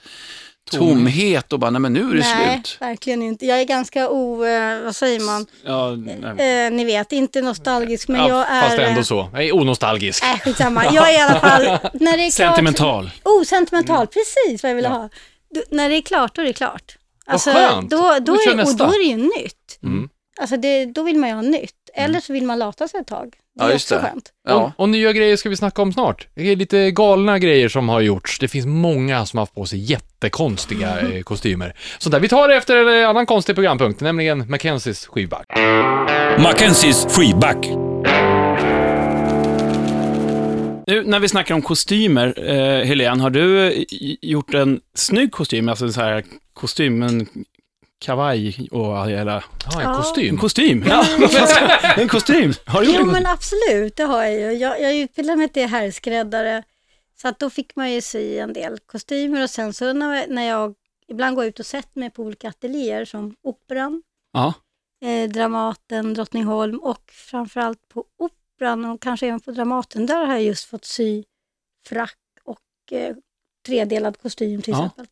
[SPEAKER 3] tomhet och bara, nej men nu är det
[SPEAKER 5] Nej,
[SPEAKER 3] slut.
[SPEAKER 5] verkligen inte. Jag är ganska o... Eh, vad säger man?
[SPEAKER 4] Ja, nej.
[SPEAKER 5] Eh, ni vet, inte nostalgisk, men jag är...
[SPEAKER 2] fast ändå
[SPEAKER 5] eh,
[SPEAKER 2] så. Jag är onostalgisk.
[SPEAKER 5] Äh, skitsamma. Jag är i alla fall... När det är klart,
[SPEAKER 4] Sentimental.
[SPEAKER 5] Oh, sentimental. Precis vad jag ville ha. Du, när det är klart, då är det klart. Alltså,
[SPEAKER 2] skönt.
[SPEAKER 5] Då,
[SPEAKER 2] Då
[SPEAKER 5] då
[SPEAKER 2] kör
[SPEAKER 5] är, och
[SPEAKER 2] nästa.
[SPEAKER 5] då är det ju nytt.
[SPEAKER 2] Mm.
[SPEAKER 5] Alltså, det, då vill man ju ha nytt. Eller så vill man lata sig ett tag. Det är
[SPEAKER 3] Ja, just
[SPEAKER 5] också
[SPEAKER 3] det.
[SPEAKER 5] skönt.
[SPEAKER 3] Ja.
[SPEAKER 2] Och, och nya grejer ska vi snacka om snart. Det är lite galna grejer som har gjorts. Det finns många som har haft på sig jättekonstiga
[SPEAKER 5] Mm.
[SPEAKER 2] eh, kostymer. Så där, vi tar det efter eh, en annan konstig programpunkt, nämligen Mackenzies skivback.
[SPEAKER 1] Mackenzies freeback.
[SPEAKER 4] Nu när vi snackar om kostymer, eh, Helene, har du eh, i- gjort en snygg kostym? Alltså en sån här kostym, en kavaj och hela...
[SPEAKER 2] Ah, en
[SPEAKER 5] Ja.
[SPEAKER 4] En
[SPEAKER 2] kostym.
[SPEAKER 4] kostym! Ja, [LAUGHS] vad fan ska- en kostym! Har du gjort
[SPEAKER 5] Jo,
[SPEAKER 4] en
[SPEAKER 5] men
[SPEAKER 4] kostym?
[SPEAKER 5] absolut, det har jag ju. Jag, jag utbildade mig till herrskräddare, så att då fick man ju sy en del kostymer och sen så när, när jag ibland går ut och sätter mig på olika ateljéer som Operan,
[SPEAKER 4] Ja.
[SPEAKER 5] eh, Dramaten, Drottningholm och framförallt på Operan och kanske även på Dramaten, där har jag just fått sy frack och eh, tredelad kostym till
[SPEAKER 4] Ja.
[SPEAKER 5] exempel.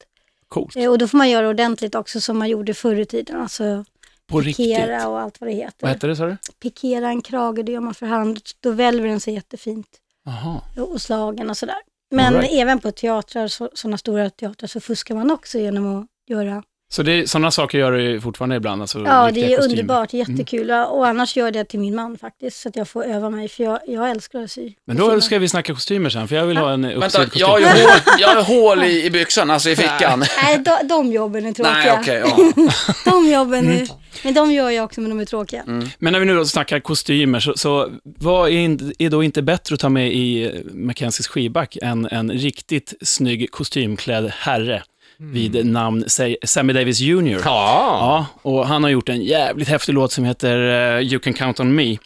[SPEAKER 4] Coolt.
[SPEAKER 5] Eh, och då får man göra ordentligt också som man gjorde förr i tiden, alltså
[SPEAKER 4] På riktigt.
[SPEAKER 5] pikera och allt vad det heter
[SPEAKER 4] Vad hette det, sa du?
[SPEAKER 5] pikera en krage, det gör man för hand. Då välver den sig jättefint
[SPEAKER 4] Jaha.
[SPEAKER 5] och slagen och sådär. Men
[SPEAKER 4] All right.
[SPEAKER 5] även på teatrar, så- sådana stora teatrar, så fuskar man också genom att göra.
[SPEAKER 4] Så det är, sådana saker gör du ju fortfarande ibland? Alltså,
[SPEAKER 5] Ja, det
[SPEAKER 4] riktiga
[SPEAKER 5] är ju
[SPEAKER 4] kostymer.
[SPEAKER 5] underbart, jättekul. Ja, Och annars gör jag det till min man faktiskt, så att jag får öva mig, för jag, jag älskar att sy.
[SPEAKER 4] Men då ska vi snacka kostymer sen, för jag vill ha en
[SPEAKER 3] Vänta,
[SPEAKER 4] uppsydd
[SPEAKER 3] jag
[SPEAKER 4] kostym.
[SPEAKER 3] har ju hål, jag har hål i, i byxan, alltså i fickan.
[SPEAKER 5] Nej, de, de jobben är tråkiga.
[SPEAKER 3] Nej, okej. ja.
[SPEAKER 5] De jobben är... Men de gör jag också, men de är tråkiga.
[SPEAKER 4] Men när vi nu då snackar kostymer, så, så vad är, in, är då inte bättre att ta med i eh, Mackenzies skivback än en riktigt snygg kostymklädd herre vid namn säg, Sammy Davis Jr.
[SPEAKER 2] Ja.
[SPEAKER 4] Ja, och han har gjort en jävligt häftig låt som heter eh, You Can Count On Me.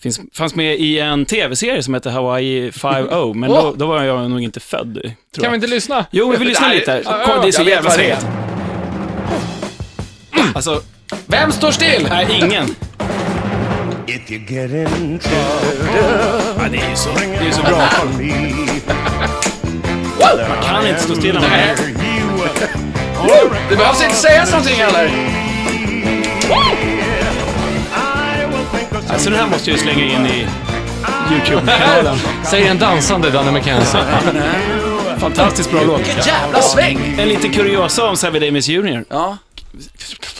[SPEAKER 4] Finns, fanns med i en tv-serie som heter Hawaii 5 men då, då var jag nog inte född, tror
[SPEAKER 2] Kan vi
[SPEAKER 4] jag.
[SPEAKER 2] inte lyssna?
[SPEAKER 4] Jo, men vi lyssnar
[SPEAKER 3] Nej,
[SPEAKER 4] lite.
[SPEAKER 2] ja,
[SPEAKER 4] Kom, det är så
[SPEAKER 3] jag vet
[SPEAKER 4] jävla
[SPEAKER 3] vad det är.
[SPEAKER 4] snyggt. Alltså,
[SPEAKER 3] Vem står still?
[SPEAKER 4] nej, ingen.
[SPEAKER 6] If you get in trouble,
[SPEAKER 4] Ja, det är ju så, det är ju så bra.
[SPEAKER 6] bra for me.
[SPEAKER 4] Man kan inte stå stilla med
[SPEAKER 6] There you
[SPEAKER 3] Det behövs inte sägas någonting heller.
[SPEAKER 6] I will think of
[SPEAKER 4] Alltså den här måste jag ju slänga in i YouTube-kanalen.
[SPEAKER 2] Säger en dansande Danne McKenzie.
[SPEAKER 4] Fantastiskt bra låt.
[SPEAKER 3] Vilken jävla sväng!
[SPEAKER 4] En liten kuriosa om Sammy Davis Jr.
[SPEAKER 3] Ja,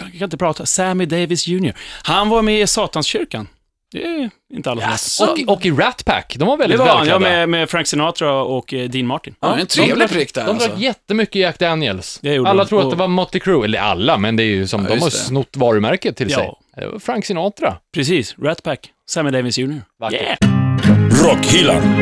[SPEAKER 4] Jag kan inte prata. Sammy Davis Jr. Han var med i Satanskyrkan. Det är inte alla som vet.
[SPEAKER 3] så.
[SPEAKER 2] Och, och i Rat Pack. De var
[SPEAKER 4] Det
[SPEAKER 2] väldigt
[SPEAKER 4] var han, ja,
[SPEAKER 2] välklädda.
[SPEAKER 4] med, med Frank Sinatra och eh, Dean Martin.
[SPEAKER 3] Ja, en trevlig prick där
[SPEAKER 2] De drar
[SPEAKER 3] alltså.
[SPEAKER 2] jättemycket Jack Daniels.
[SPEAKER 4] Det gjorde
[SPEAKER 2] alla
[SPEAKER 4] de.
[SPEAKER 2] tror att
[SPEAKER 4] Och-
[SPEAKER 2] det var Motley Crue, eller alla, men det är ju som, de
[SPEAKER 3] just
[SPEAKER 2] har
[SPEAKER 3] det.
[SPEAKER 2] snott varumärket till
[SPEAKER 4] Ja.
[SPEAKER 2] sig. Det var Frank Sinatra.
[SPEAKER 4] Precis, Rat Pack. Sammy Davis Jr.
[SPEAKER 2] Vackert.
[SPEAKER 4] Yeah.
[SPEAKER 1] Rockhyllan.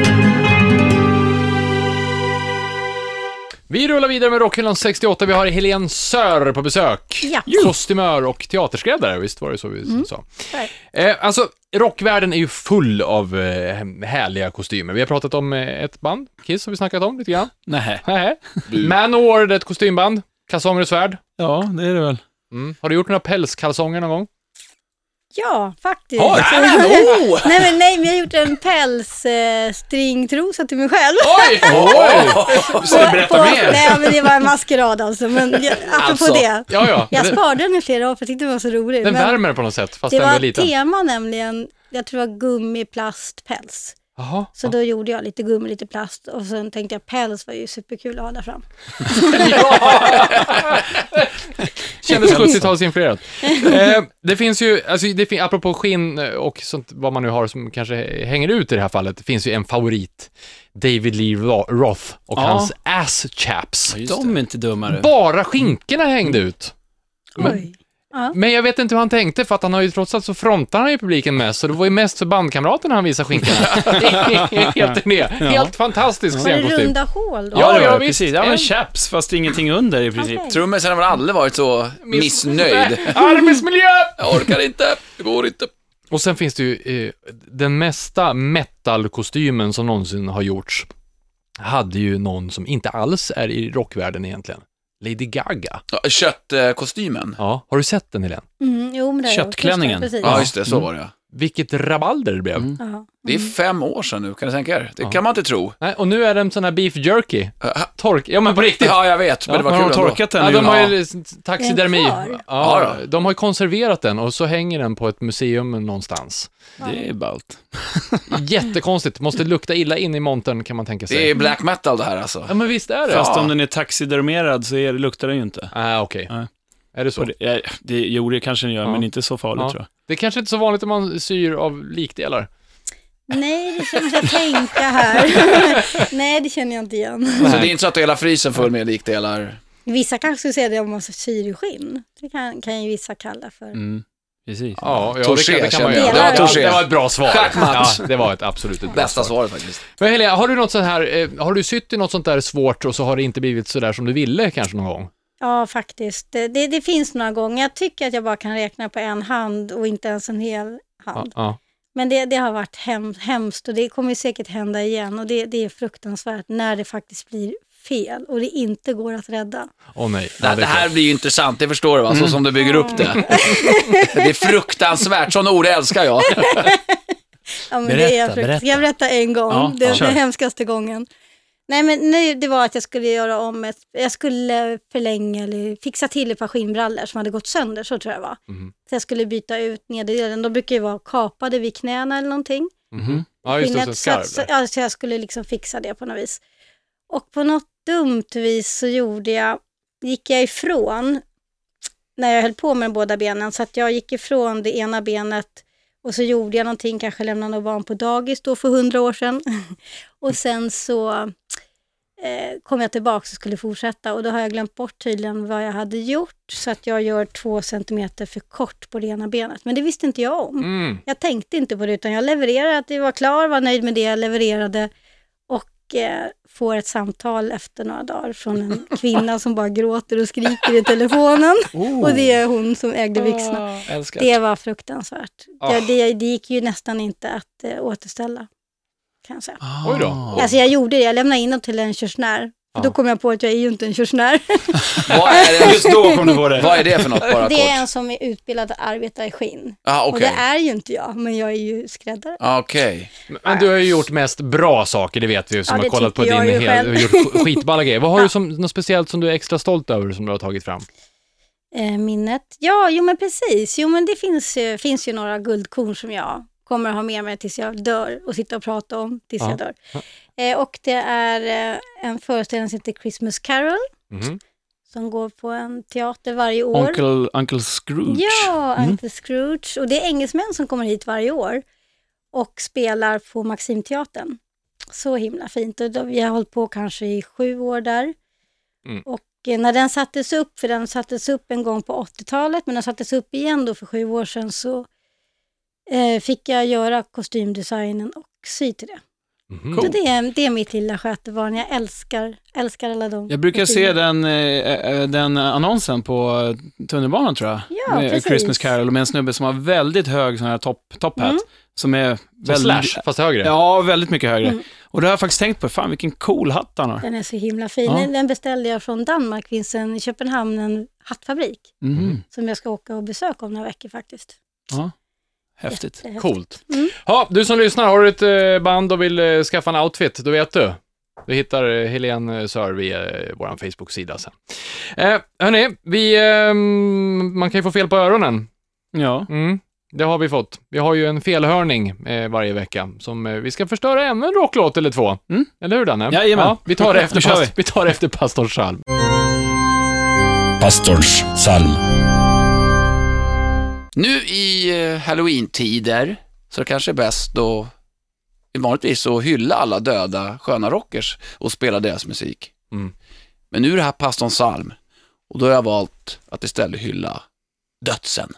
[SPEAKER 2] Vi rullar vidare med Rockhyllan 68. Vi har Helene Sör på besök.
[SPEAKER 5] Ja. Mm.
[SPEAKER 2] Kostymör och teaterskräddare, visst var det så vi sa?
[SPEAKER 5] Tack.
[SPEAKER 2] Eh, alltså, rockvärlden är ju full av eh, härliga kostymer. Vi har pratat om eh, ett band, Kiss har vi snackat om lite grann.
[SPEAKER 4] Nej.
[SPEAKER 2] Nähä. Manowar, det är ett kostymband. Kalsonger och svärd.
[SPEAKER 4] Ja, det är det väl.
[SPEAKER 2] Mm. Har du gjort några pälskalsonger någon gång?
[SPEAKER 5] Ja, faktiskt.
[SPEAKER 2] Oj.
[SPEAKER 5] Så- [LAUGHS] nej, men nej, men jag har gjort en pälsstringtrosa eh, stringtrosa till mig själv.
[SPEAKER 2] Oj!
[SPEAKER 5] På- på- Nej, men det var en maskerad alltså. Men jag, apropå
[SPEAKER 3] Alltså.
[SPEAKER 5] det.
[SPEAKER 2] Ja, ja.
[SPEAKER 5] Jag
[SPEAKER 2] Den-
[SPEAKER 5] sparade den i flera år för jag tyckte den var så rolig.
[SPEAKER 2] Den
[SPEAKER 5] men
[SPEAKER 2] värmer på något sätt, fast
[SPEAKER 5] det
[SPEAKER 2] ändå
[SPEAKER 5] var
[SPEAKER 2] är
[SPEAKER 5] ett
[SPEAKER 2] liten.
[SPEAKER 5] tema nämligen, jag tror det var gummi, plast, päls.
[SPEAKER 2] Jaha.
[SPEAKER 5] Så då gjorde jag lite gummi, lite plast och sen tänkte jag päls var ju superkul att ha där fram.
[SPEAKER 2] [LAUGHS] Kändes 70-talsinfluerat. eh, det finns ju, alltså, det fin- apropå skinn eh, och sånt, vad man nu har som kanske hänger ut i det här fallet, det finns ju en favorit. David Lee Ro- Roth och
[SPEAKER 4] Ja.
[SPEAKER 2] hans ass chaps.
[SPEAKER 4] De är inte dummare.
[SPEAKER 2] Bara skinkorna hängde ut.
[SPEAKER 5] Oj. Ja.
[SPEAKER 2] Men jag vet inte hur han tänkte, för att han har ju trots allt så frontar han ju publiken mest, så det var ju mest för bandkamraterna han visade [LAUGHS] skinkorna. Helt ner. Helt fantastisk
[SPEAKER 5] Var det
[SPEAKER 2] scenkostym.
[SPEAKER 5] runda hål då?
[SPEAKER 2] Ja,
[SPEAKER 4] det var
[SPEAKER 2] ja,
[SPEAKER 4] det,
[SPEAKER 2] visst.
[SPEAKER 4] precis. Ja,
[SPEAKER 2] En-
[SPEAKER 4] men chaps, fast ingenting under i princip.
[SPEAKER 5] Okej.
[SPEAKER 3] Trummisen har väl aldrig varit så missnöjd.
[SPEAKER 2] Arbetsmiljö!
[SPEAKER 3] Jag orkar inte, det går inte.
[SPEAKER 2] Och sen finns det ju, eh, den mesta metal-kostymen som någonsin har gjorts hade ju någon som inte alls är i rockvärlden egentligen. Lady Gaga.
[SPEAKER 3] Ja, Köttkostymen.
[SPEAKER 2] Ja. Har du sett den Helene?
[SPEAKER 5] Mm, jo, men det har jag gjort.
[SPEAKER 4] Köttklänningen.
[SPEAKER 5] Just det, Precis.
[SPEAKER 3] Ja, just det, så var det ja.
[SPEAKER 2] Vilket rabalder det blev.
[SPEAKER 5] Ja.
[SPEAKER 3] Det är fem år sedan nu, kan du tänka er? Det kan man inte tro.
[SPEAKER 2] Nej, och nu är den sån här beef jerky. Tork, ja men på riktigt.
[SPEAKER 3] Ja, jag vet, men
[SPEAKER 4] Ja,
[SPEAKER 3] det var
[SPEAKER 4] har
[SPEAKER 3] kul
[SPEAKER 4] de
[SPEAKER 3] ändå.
[SPEAKER 4] torkat den
[SPEAKER 2] Ja,
[SPEAKER 4] nu?
[SPEAKER 2] de har
[SPEAKER 4] Ja.
[SPEAKER 2] ju s- taxidermi.
[SPEAKER 5] Är den kvar?
[SPEAKER 2] Ja,
[SPEAKER 3] Ja, då.
[SPEAKER 2] de har ju konserverat den och så hänger den på ett museum någonstans.
[SPEAKER 4] Det är ballt.
[SPEAKER 2] Jättekonstigt, måste lukta illa in i montern kan man tänka sig.
[SPEAKER 3] Det är black metal det här alltså.
[SPEAKER 2] Ja men visst är det?
[SPEAKER 4] Fast
[SPEAKER 3] Ja.
[SPEAKER 4] om den är taxidermerad så är, luktar den ju inte.
[SPEAKER 2] Ah, okej.
[SPEAKER 4] Nej.
[SPEAKER 2] Är det så?
[SPEAKER 4] Och det, eh, det, jo, det kanske den gör,
[SPEAKER 2] Ja.
[SPEAKER 4] men inte så farligt
[SPEAKER 2] Ja.
[SPEAKER 4] tror jag.
[SPEAKER 2] Det är kanske inte är så vanligt om man syr av likdelar.
[SPEAKER 5] Nej, det känner jag tänka här. Nej, det känner jag inte igen.
[SPEAKER 3] Så det är inte så att hela frysen full med likdelar.
[SPEAKER 5] Vissa kanske skulle säga det om man syr i skinn. Det kan, kan ju vissa kalla för
[SPEAKER 4] Precis.
[SPEAKER 2] Ja, ja det,
[SPEAKER 3] Touché,
[SPEAKER 2] kan- det kan man
[SPEAKER 3] känner
[SPEAKER 2] göra.
[SPEAKER 5] jag.
[SPEAKER 2] Det var,
[SPEAKER 5] Det var
[SPEAKER 2] ett-
[SPEAKER 3] touché.
[SPEAKER 2] det var ett bra svar.
[SPEAKER 3] Schackmatt.
[SPEAKER 2] Ja, det var ett absolut ett bra
[SPEAKER 3] Bästa
[SPEAKER 2] svar.
[SPEAKER 3] svaret faktiskt.
[SPEAKER 2] Men Helena, har du något sånt här, eh, har du sytt i något sånt där svårt och så har det inte blivit sådär som du ville kanske någon gång?
[SPEAKER 5] Ja, faktiskt. Det, det, det finns några gånger. Jag tycker att jag bara kan räkna på en hand och inte ens en hel
[SPEAKER 2] Ja,
[SPEAKER 5] hand.
[SPEAKER 2] ja.
[SPEAKER 5] Men det, det har varit hem, hemskt och det kommer ju säkert hända igen. Och det, det är fruktansvärt när det faktiskt blir fel och det inte går att rädda.
[SPEAKER 2] Åh nej.
[SPEAKER 3] Det,
[SPEAKER 2] Ja,
[SPEAKER 3] det här blir ju intressant, det förstår du va,
[SPEAKER 4] Mm.
[SPEAKER 3] så som du bygger upp
[SPEAKER 4] [LAUGHS]
[SPEAKER 3] det. Det är fruktansvärt, sådana ord älskar jag.
[SPEAKER 5] Ja, men det är
[SPEAKER 4] Berätta,
[SPEAKER 5] frukt-
[SPEAKER 4] berätta.
[SPEAKER 5] Ska jag berätta en gång?
[SPEAKER 4] Ja,
[SPEAKER 5] det
[SPEAKER 4] ja.
[SPEAKER 5] var
[SPEAKER 4] Kör.
[SPEAKER 5] den hemskaste gången. Nej, men nej, det var att jag skulle göra om ett, jag skulle förlänga eller fixa till ett par skinnbrallor som hade gått sönder, så tror jag det var.
[SPEAKER 4] Mhm.
[SPEAKER 5] Så jag skulle byta ut nederdelen, de brukar ju vara kapade vid knäna eller någonting.
[SPEAKER 2] ja, just det,
[SPEAKER 5] skinnet,
[SPEAKER 2] så
[SPEAKER 5] så, att,
[SPEAKER 2] skarv
[SPEAKER 5] så,
[SPEAKER 2] där.
[SPEAKER 5] ja, så jag skulle liksom fixa det på något vis. Och på något dumt vis så gjorde jag, gick jag ifrån när jag höll på med båda benen, så att jag gick ifrån det ena benet och så gjorde jag någonting, kanske lämnade något barn på dagis då för hundra år sedan. [LAUGHS] och sen så eh, kom jag tillbaka och skulle fortsätta och då har jag glömt bort tydligen vad jag hade gjort, så att jag gör två centimeter för kort på det ena benet. Men det visste inte jag om.
[SPEAKER 2] Mm.
[SPEAKER 5] Jag tänkte inte på det utan jag levererade att jag var klar, var nöjd med det jag levererade och eh, får ett samtal efter några dagar
[SPEAKER 3] [LAUGHS]
[SPEAKER 5] från en kvinna som bara gråter och skriker i telefonen. Och det är hon som ägde Vixna.
[SPEAKER 3] Älskar.
[SPEAKER 5] Det var fruktansvärt.
[SPEAKER 2] Ah.
[SPEAKER 5] Det, det, det gick ju nästan inte att eh, återställa. Kan jag, säga.
[SPEAKER 3] Ah.
[SPEAKER 2] Oj då.
[SPEAKER 5] Alltså jag gjorde det, jag lämnade in dem till en körsnär. För Då
[SPEAKER 2] Ah.
[SPEAKER 5] kom jag på att jag är ju inte en körsnär.
[SPEAKER 3] Vad är det,
[SPEAKER 4] Just då kom du på det.
[SPEAKER 3] vad är det för något bara
[SPEAKER 5] Det är
[SPEAKER 3] kort?
[SPEAKER 5] en som är utbildad att arbeta i skinn.
[SPEAKER 3] Ah,
[SPEAKER 5] Och
[SPEAKER 3] okej.
[SPEAKER 5] det är ju inte jag, men jag är ju skräddare.
[SPEAKER 3] Ah, okej.
[SPEAKER 2] Men du har ju gjort mest bra saker, det vet vi ju, som
[SPEAKER 5] Ja,
[SPEAKER 2] har
[SPEAKER 5] det
[SPEAKER 2] kollat på din
[SPEAKER 5] tycker jag
[SPEAKER 2] hel,
[SPEAKER 5] ju själv.
[SPEAKER 2] och gjort skitballa grejer. Vad har du som, något speciellt som du är extra stolt över som du har tagit fram?
[SPEAKER 5] eh, minnet. Ja, jo men precis. Jo men det finns, ju- finns ju några guldkorn som jag kommer att ha med mig tills jag dör och sitta och prata om tills
[SPEAKER 2] Ja.
[SPEAKER 5] jag dör. Eh, och det är eh, en föreställning som heter Christmas Carol
[SPEAKER 2] Mhm.
[SPEAKER 5] som går på en teater varje år.
[SPEAKER 4] Uncle, Uncle Scrooge. Mm.
[SPEAKER 5] Ja, Uncle Scrooge. Och det är engelsmän som kommer hit varje år och spelar på Maximteatern. Så himla fint. Och då, vi har hållit på kanske i sju år där.
[SPEAKER 2] Mm.
[SPEAKER 5] Och eh, när den sattes upp, för den sattes upp en gång på 80-talet, men den sattes upp igen då för sju år sedan, så eh, fick jag göra kostymdesignen och sy till det.
[SPEAKER 2] Mhm.
[SPEAKER 5] Så det, är, det är mitt lilla skötebarn. Jag älskar, älskar alla dem.
[SPEAKER 4] Jag brukar se den, eh, eh, den annonsen på eh, tunnelbanan tror jag.
[SPEAKER 5] Ja,
[SPEAKER 4] med
[SPEAKER 5] precis.
[SPEAKER 4] Christmas Carol med en snubbe som har väldigt hög sån här topp, top
[SPEAKER 5] Mm.
[SPEAKER 4] hat. Som är
[SPEAKER 2] Som
[SPEAKER 4] väldigt...
[SPEAKER 2] slash, fast högre.
[SPEAKER 4] Ja, väldigt mycket högre.
[SPEAKER 5] Mm.
[SPEAKER 4] Och det har jag faktiskt tänkt på, fan vilken cool hatt han har.
[SPEAKER 5] Den är så himla fin.
[SPEAKER 4] Ja.
[SPEAKER 5] Den- Den beställde jag från Danmark, finns en i Köpenhamn, en hattfabrik.
[SPEAKER 4] Mhm.
[SPEAKER 5] som jag ska åka och besöka om några veckor faktiskt.
[SPEAKER 4] Häftigt.
[SPEAKER 5] Jättehäftigt.
[SPEAKER 2] Coolt.
[SPEAKER 5] Mm.
[SPEAKER 2] Ja, du som lyssnar, har du ett eh, band och vill eh, skaffa en outfit, då vet du. Du hittar eh, Helene Sör via eh, vår Facebook-sida sen. Eh, hörni, vi, ehm, man kan ju få fel på öronen.
[SPEAKER 4] [LAUGHS] Ja.
[SPEAKER 2] Mm, det har vi fått. Vi har ju en felhörning eh, varje vecka som eh, vi ska förstöra ännu en rocklåt eller två.
[SPEAKER 4] Mm.
[SPEAKER 2] Eller hur Danne?
[SPEAKER 4] Jajamän.
[SPEAKER 2] vi tar det [LAUGHS] efter,
[SPEAKER 4] Nu kör
[SPEAKER 2] past- vi tar det efter pastorn Salm.
[SPEAKER 1] Pastorns psalm.
[SPEAKER 3] Nu i eh, halloween-tider så är det kanske är bäst att vanligtvis att hylla alla döda sköna rockers och spela deras musik.
[SPEAKER 2] Mm.
[SPEAKER 3] Men nu är det här pastorn psalm och då har jag valt att istället hylla dödsen.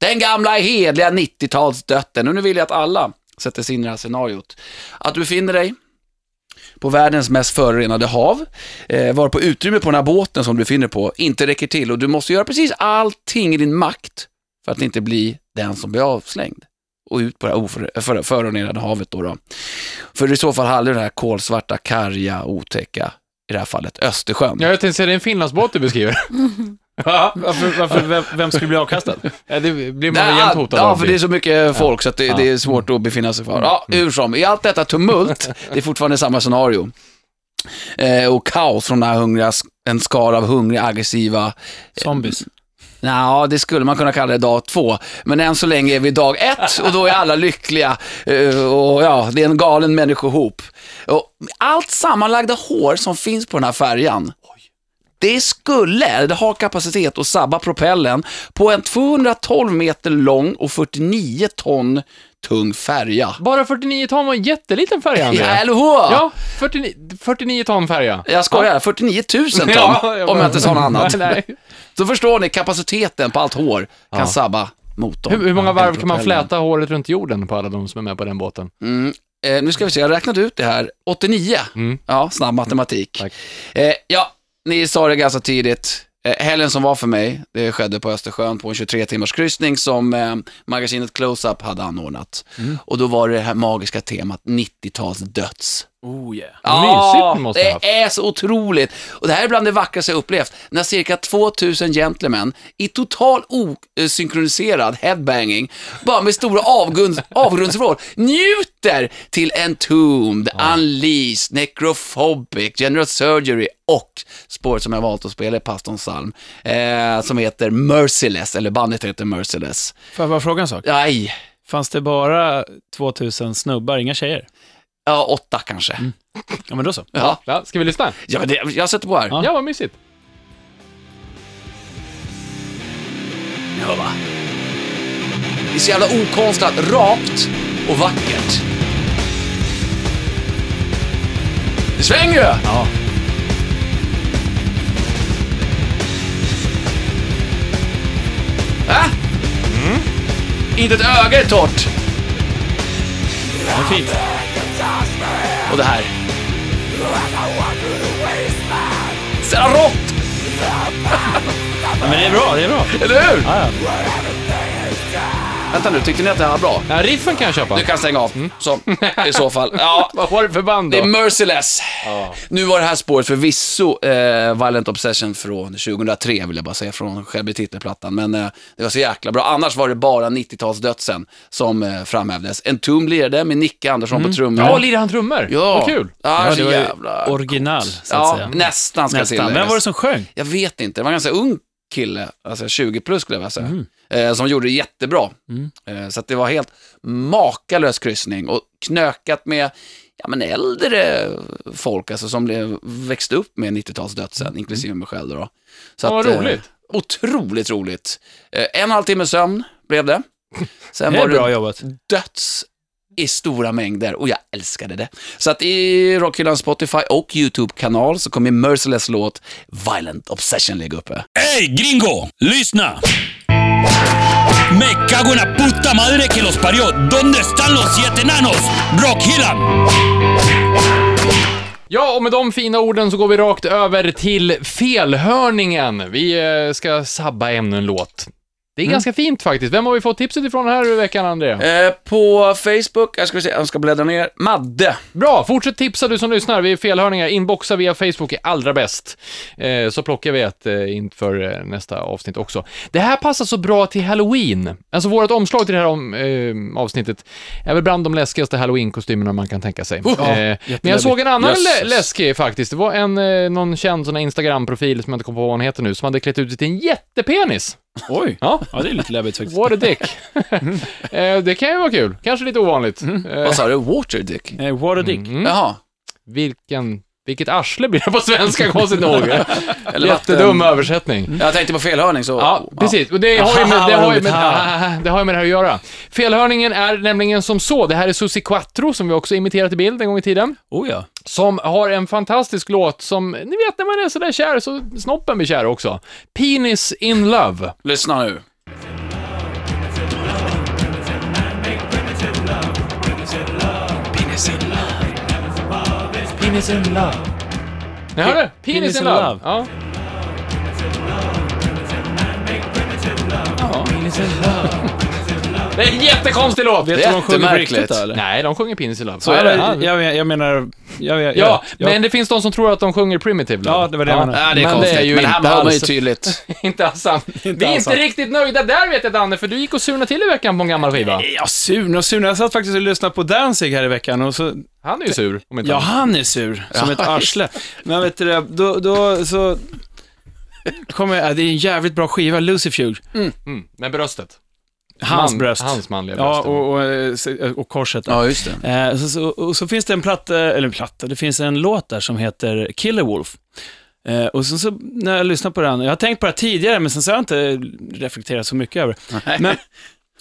[SPEAKER 3] Den gamla hedliga 90-talsdötten. Och nu vill jag att alla sätter sig in i det här scenariot. Att du befinner dig på världens mest förorenade hav, eh, varpå utrymme på den här båten som du befinner dig på inte räcker till och du måste göra precis allting i din makt för att inte bli den som blir avslängd och ut på det här oför- för- förorenade havet. Då då. För i så fall hade du den här kolsvarta, karga, otäcka, i det här fallet Östersjön.
[SPEAKER 2] Ja, jag tänkte säga, det är en Finlandsbåt du beskriver.
[SPEAKER 4] Ja, varför, varför, vem, vem skulle bli avkastad?
[SPEAKER 2] Ja, det blir
[SPEAKER 3] Nej,
[SPEAKER 2] man väl jämt hotad
[SPEAKER 3] Ja,
[SPEAKER 2] av.
[SPEAKER 3] för det är så mycket folk så att det, det är svårt att befinna sig
[SPEAKER 2] Mm.
[SPEAKER 3] för. Ja, hur som. I allt detta tumult, det är fortfarande samma scenario. Eh, och kaos från den här hungriga, en skara av hungriga, aggressiva, eh,
[SPEAKER 4] Zombies.
[SPEAKER 3] Nja, det skulle man kunna kalla det dag två. Men än så länge är vi dag ett och då är alla lyckliga. Eh, Och ja, det är en galen människohop. Och allt sammanlagda hår som finns på den här färjan det skulle, det har kapacitet att sabba propellen på en 212 meter lång och 49 ton tung färja.
[SPEAKER 2] Bara 49 ton var en jätteliten färja,
[SPEAKER 3] Ja,
[SPEAKER 2] Andrea.
[SPEAKER 3] eller hur?
[SPEAKER 2] Ja, 49, 49 ton färja.
[SPEAKER 3] Jag skojar, 49 000 ton,
[SPEAKER 2] Ja, jag
[SPEAKER 3] om
[SPEAKER 2] bara-
[SPEAKER 3] jag inte sa något annat.
[SPEAKER 2] [LAUGHS] Nej, nej.
[SPEAKER 3] Då förstår ni, kapaciteten på allt hår kan
[SPEAKER 2] Ja.
[SPEAKER 3] sabba motorn.
[SPEAKER 2] Hur, hur många varv kan man
[SPEAKER 3] Propellen.
[SPEAKER 2] fläta håret runt jorden på alla de som är med på den båten?
[SPEAKER 3] Mm. Eh, nu ska vi se, jag räknade ut det här. 89.
[SPEAKER 2] Mm.
[SPEAKER 3] Ja, snabb matematik.
[SPEAKER 2] Tack.
[SPEAKER 3] Eh, ja, ni sa det ganska tidigt. Eh, helgen som var för mig, det skedde på Östersjön på en 23 timmars kryssning som eh, magasinet Close-Up hade anordnat.
[SPEAKER 2] Mm.
[SPEAKER 3] Och då var det det här magiska temat 90-tals döds.
[SPEAKER 4] [LAUGHS] Oh yeah.
[SPEAKER 2] Mysigt ni måste ha haft.
[SPEAKER 3] det är så otroligt. Och det här är bland det vackraste jag upplevt, när cirka 2000 gentlemän i total osynkroniserad headbanging, bara med stora
[SPEAKER 2] [LAUGHS]
[SPEAKER 3] avgrunds, avgrundsvrål, njuter till Entombed, Unleashed, Necrophobic, General Surgery och spåret som jag valt att spela i Paston Salm, eh, som heter Merciless, eller bandet heter Merciless.
[SPEAKER 4] Får jag bara fråga en sak?
[SPEAKER 3] Aj,
[SPEAKER 4] Fanns det bara 2000 snubbar, inga tjejer?
[SPEAKER 3] ja, åtta kanske.
[SPEAKER 2] Mm.
[SPEAKER 4] Ja, men då så.
[SPEAKER 3] Ja,
[SPEAKER 2] Ja, ska vi lyssna?
[SPEAKER 3] ja men det, jag sätter på här.
[SPEAKER 2] Ja, vad mysigt.
[SPEAKER 3] Ni hör va? Det är så jävla okonstlat, rakt och vackert. Det svänger ju! Ja. Va? Äh? Mm. Inte ett öga är torrt.
[SPEAKER 4] Det är fint.
[SPEAKER 3] Och det här. Så jävla rått,
[SPEAKER 4] Ja, men det är bra, det är bra.
[SPEAKER 3] eller hur?
[SPEAKER 4] Ja,
[SPEAKER 3] Vänta nu, tyckte ni att det här var bra? Mm.
[SPEAKER 2] Ja, riffen kan jag köpa.
[SPEAKER 3] Du kan stänga av, så, i så fall. Ja,
[SPEAKER 2] Vad var det för band då?
[SPEAKER 3] Det är Merciless. Nu var det här spåret förvisso eh, Violent Obsession från 2003, vill jag bara säga, från själva titelplattan. Men eh, det var så jäkla bra. Annars var det bara 90-talsdödsen som eh, framhävdes. En tum lirade med Nicke Andersson på trummor.
[SPEAKER 2] Ja, lirar han trummor?
[SPEAKER 3] Ja.
[SPEAKER 2] Vad kul.
[SPEAKER 3] Ja,
[SPEAKER 4] Mm. Ja,
[SPEAKER 3] så
[SPEAKER 4] det var ju
[SPEAKER 3] jävla
[SPEAKER 4] original,
[SPEAKER 3] coolt.
[SPEAKER 4] så att
[SPEAKER 3] ja,
[SPEAKER 4] säga.
[SPEAKER 3] Nästan, ska
[SPEAKER 4] Nästan.
[SPEAKER 3] tilläggas.
[SPEAKER 4] Vem var det som sjöng?
[SPEAKER 3] Jag vet inte, det var en ganska ung kille, alltså 20 plus skulle jag vilja säga, eh, som gjorde det jättebra.
[SPEAKER 4] Mm.
[SPEAKER 3] Eh, så att det var helt makalös kryssning och knökat med ja, men äldre folk, alltså som blev, växte upp med 90-talsdödsen,
[SPEAKER 4] Mm.
[SPEAKER 3] inklusive mig själv. Då. Så
[SPEAKER 2] Ja, vad
[SPEAKER 3] eh,
[SPEAKER 2] roligt.
[SPEAKER 3] otroligt roligt. Eh, en och en halv timme sömn blev det. Sen
[SPEAKER 4] Det är bra jobbat.
[SPEAKER 3] döds i stora mängder och jag älskade det. Så att i Rockhyllan Spotify och YouTube-kanal så kommer Merciless låt Violent Obsession ligga uppe.
[SPEAKER 1] ¡Ey, gringo! ¡Listen! Me cago en la puta madre que los parió. ¿Dónde están los siete enanos? Rock Hillan.
[SPEAKER 2] Ja, och med de fina orden så går vi rakt över till felhörningen. Vi eh, ska sabba ännu en låt. Det är
[SPEAKER 3] Mm.
[SPEAKER 2] ganska fint faktiskt. Vem har vi fått tipset ifrån här i veckan, André?
[SPEAKER 3] Eh, på Facebook, jag ska se, jag ska bläddra ner, Madde.
[SPEAKER 2] Bra, fortsätt tipsa du som lyssnar. Vi är felhörningar. Inboxa via Facebook är allra bäst. Eh, så plockar vi ett eh, inför eh, nästa avsnitt också. Det här passar så bra till Halloween. Alltså vårt omslag till det här om, eh, avsnittet är väl bland de läskigaste Halloween-kostymerna man kan tänka sig. eh, men jag såg en annan lä- läskig faktiskt. Det var en, eh, någon känd sån här Instagram-profil som jag inte kommer på vad hon heter nu, som hade klätt ut sig till en jättepenis.
[SPEAKER 4] Oj.
[SPEAKER 2] Ja.
[SPEAKER 4] Ja, det är lite läbbigt faktiskt.
[SPEAKER 2] What a dick. eh, det kan ju vara kul. Kanske lite ovanligt. Eh,
[SPEAKER 3] Vad sa du? Waterdick?
[SPEAKER 4] Eh, What a dick.
[SPEAKER 3] Jaha.
[SPEAKER 2] vilken, vilket arsle blir det på svenska [LAUGHS] konstigt nog?
[SPEAKER 3] Eller
[SPEAKER 2] Jättedum
[SPEAKER 3] vatten.
[SPEAKER 2] översättning.
[SPEAKER 3] Jag tänkte på felhörning så...
[SPEAKER 2] Mm. Ja, precis. Och det har ju med det,
[SPEAKER 4] Aha,
[SPEAKER 2] har ju
[SPEAKER 4] roligt.
[SPEAKER 2] med,
[SPEAKER 4] Ah.
[SPEAKER 2] det har ju med [LAUGHS] det här att göra. Felhörningen är nämligen som så, det här är Susi Quattro, som vi också imiterat i bild en gång i tiden,
[SPEAKER 4] Oh ja.
[SPEAKER 2] som har en fantastisk låt som, ni vet när man är sådär kär så snoppen blir kär också. Penis in Love.
[SPEAKER 3] Lyssna nu.
[SPEAKER 2] Ni hörde? Penis, in Love. Ja. Det är en jättekonstig låt!
[SPEAKER 4] Vet du vad de sjunger på
[SPEAKER 3] Jättemärkligt.
[SPEAKER 4] riktigt då, eller?
[SPEAKER 2] Nej, de sjunger Penis in Love.
[SPEAKER 4] Så
[SPEAKER 2] Ja,
[SPEAKER 4] är det.
[SPEAKER 2] ja.
[SPEAKER 4] Jag, jag, jag menar... Jag, jag,
[SPEAKER 2] Ja,
[SPEAKER 4] jag,
[SPEAKER 2] men det finns de som tror att de sjunger Primitive Love.
[SPEAKER 4] Ja, det var det jag menade.
[SPEAKER 3] Ja, det är
[SPEAKER 2] men
[SPEAKER 3] konstigt.
[SPEAKER 2] Det är ju
[SPEAKER 3] men det här
[SPEAKER 2] inte
[SPEAKER 3] var man ju
[SPEAKER 2] alls,
[SPEAKER 3] tydligt.
[SPEAKER 2] inte alls
[SPEAKER 4] [LAUGHS]
[SPEAKER 2] sant. Vi är
[SPEAKER 4] alls
[SPEAKER 2] inte
[SPEAKER 4] sant.
[SPEAKER 2] riktigt nöjda där vet jag Danne, för du gick och surnade till i veckan på en gammal skiva.
[SPEAKER 4] Ja, sur och sur. Jag satt faktiskt och lyssnade på Danzig här i veckan och så
[SPEAKER 2] Han är ju sur, om inte
[SPEAKER 4] Ja,
[SPEAKER 2] annat.
[SPEAKER 4] han är sur, som ett arsle. Men vet du det, då, då så... Kommer, jag- det är en jävligt bra skiva, Lucifuge.
[SPEAKER 2] Mm, med bröstet.
[SPEAKER 4] Hans
[SPEAKER 2] Man-
[SPEAKER 4] bröst.
[SPEAKER 2] Hans manliga bröst.
[SPEAKER 4] ja, och, och, eh, se- och korset.
[SPEAKER 3] Ja, just det.
[SPEAKER 4] Eh, så, så, och så finns det en platta, eller en platta, det finns en låt där som heter Killer Wolf. Eh, och sen så när jag lyssnade på den, jag har tänkt på det här tidigare, men sen så har jag inte reflekterat så mycket över det. Men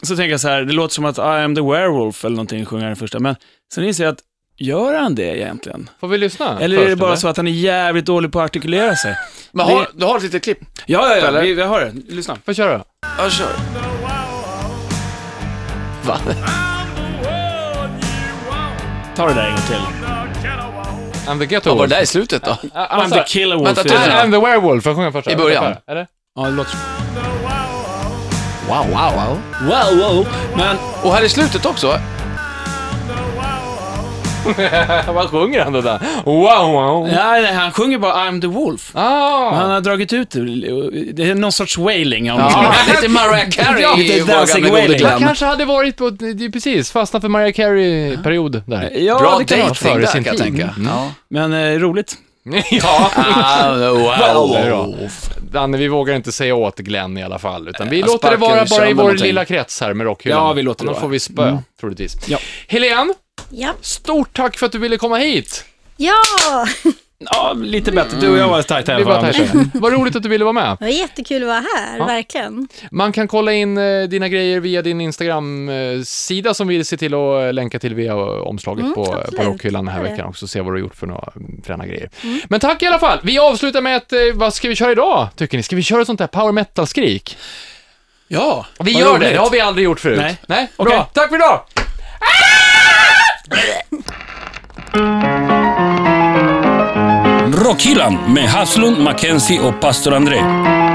[SPEAKER 4] så tänker jag så här, det låter som att I am the werewolf eller någonting sjunger han i första, men sen inser jag att Gör han det egentligen?
[SPEAKER 2] Får vi lyssna?
[SPEAKER 4] Eller är
[SPEAKER 2] först,
[SPEAKER 4] det bara så att han är jävligt dålig på att artikulera sig?
[SPEAKER 3] Men har, du har ett litet klipp?
[SPEAKER 4] Ja, ja, ja,
[SPEAKER 3] Eller?
[SPEAKER 4] vi, vi har det. Lyssna.
[SPEAKER 2] Får jag köra?
[SPEAKER 3] Ja, kör. Va?
[SPEAKER 4] Ta det där en gång till.
[SPEAKER 2] I'm the ghetto
[SPEAKER 3] Vad var
[SPEAKER 2] wolf.
[SPEAKER 3] det där i slutet då?
[SPEAKER 2] Ah, ah,
[SPEAKER 4] I'm
[SPEAKER 2] så här.
[SPEAKER 4] the killer wolf.
[SPEAKER 3] Vänta,
[SPEAKER 4] är det.
[SPEAKER 3] till-
[SPEAKER 2] I'm the werewolf, får jag sjunga först?
[SPEAKER 3] I början.
[SPEAKER 2] Eller?
[SPEAKER 4] Ja, det låter...
[SPEAKER 3] Wow, wow, wow.
[SPEAKER 4] Wow, wow. Men
[SPEAKER 3] Och här i slutet också.
[SPEAKER 2] [LAUGHS] Vad sjunger han då där? Wow, wow.
[SPEAKER 4] Nej, nej, han sjunger bara I'm the Wolf. Han
[SPEAKER 2] Ah.
[SPEAKER 4] har dragit ut det. Det är någon sorts wailing.
[SPEAKER 3] Ja,
[SPEAKER 4] Ja.
[SPEAKER 3] lite Mariah Carey
[SPEAKER 4] Ja,
[SPEAKER 3] i
[SPEAKER 4] lite
[SPEAKER 3] vår
[SPEAKER 4] Dancing
[SPEAKER 3] gamla gode
[SPEAKER 4] Wailing.
[SPEAKER 2] Jag
[SPEAKER 3] Glenn.
[SPEAKER 2] kanske hade varit på, det är precis, fastnat för Mariah Carey-period där.
[SPEAKER 4] Ja,
[SPEAKER 3] Bra
[SPEAKER 4] det kan vara.
[SPEAKER 3] dejting
[SPEAKER 2] före
[SPEAKER 3] där
[SPEAKER 2] sin
[SPEAKER 3] kan jag
[SPEAKER 2] tid. Mm.
[SPEAKER 3] tänka. Ja.
[SPEAKER 4] Men eh, roligt.
[SPEAKER 2] ja.
[SPEAKER 3] Ah, wow.
[SPEAKER 2] Det är bra. Danne, vi vågar inte säga åt Glenn i alla fall, utan vi
[SPEAKER 3] han
[SPEAKER 2] låter
[SPEAKER 3] sparkar
[SPEAKER 2] det vara
[SPEAKER 3] ju
[SPEAKER 2] bara i
[SPEAKER 3] sönder
[SPEAKER 2] vår
[SPEAKER 3] någonting.
[SPEAKER 2] lilla krets här med rockhyllan.
[SPEAKER 4] Ja, vi låter det
[SPEAKER 2] Annars
[SPEAKER 4] vara. Mm.
[SPEAKER 2] får vi spö, troligtvis.
[SPEAKER 4] Ja.
[SPEAKER 2] Helene,
[SPEAKER 5] Ja.
[SPEAKER 2] stort tack för att du ville komma hit.
[SPEAKER 5] ja,
[SPEAKER 4] Ja, lite bättre. Du och jag var tajta i
[SPEAKER 2] Det
[SPEAKER 4] alla
[SPEAKER 2] var,
[SPEAKER 4] fall. Anders.
[SPEAKER 2] [LAUGHS] här. Vad roligt att du ville vara med.
[SPEAKER 5] det var jättekul att vara här, verkligen.
[SPEAKER 2] Man kan kolla in eh, dina grejer via din Instagram-sida som vi ser till att eh, länka till via eh, omslaget
[SPEAKER 5] Mm,
[SPEAKER 2] på,
[SPEAKER 5] absolut.
[SPEAKER 2] på rockhyllan den här
[SPEAKER 5] Gör det.
[SPEAKER 2] veckan också, se vad du har gjort för några mm, fräna grejer. Men tack i alla fall! Vi avslutar med ett, eh, vad ska vi köra idag, tycker ni? Ska vi köra ett sånt där power metal-skrik?
[SPEAKER 3] Ja,
[SPEAKER 2] Vi
[SPEAKER 3] vad
[SPEAKER 2] gör
[SPEAKER 3] roligt.
[SPEAKER 2] det, det har vi aldrig gjort förut.
[SPEAKER 4] Nej.
[SPEAKER 2] Nej?
[SPEAKER 4] Okej.
[SPEAKER 2] Bra, tack för idag!
[SPEAKER 1] Rockhyllan med Haslund, Mackenzie och pastor André.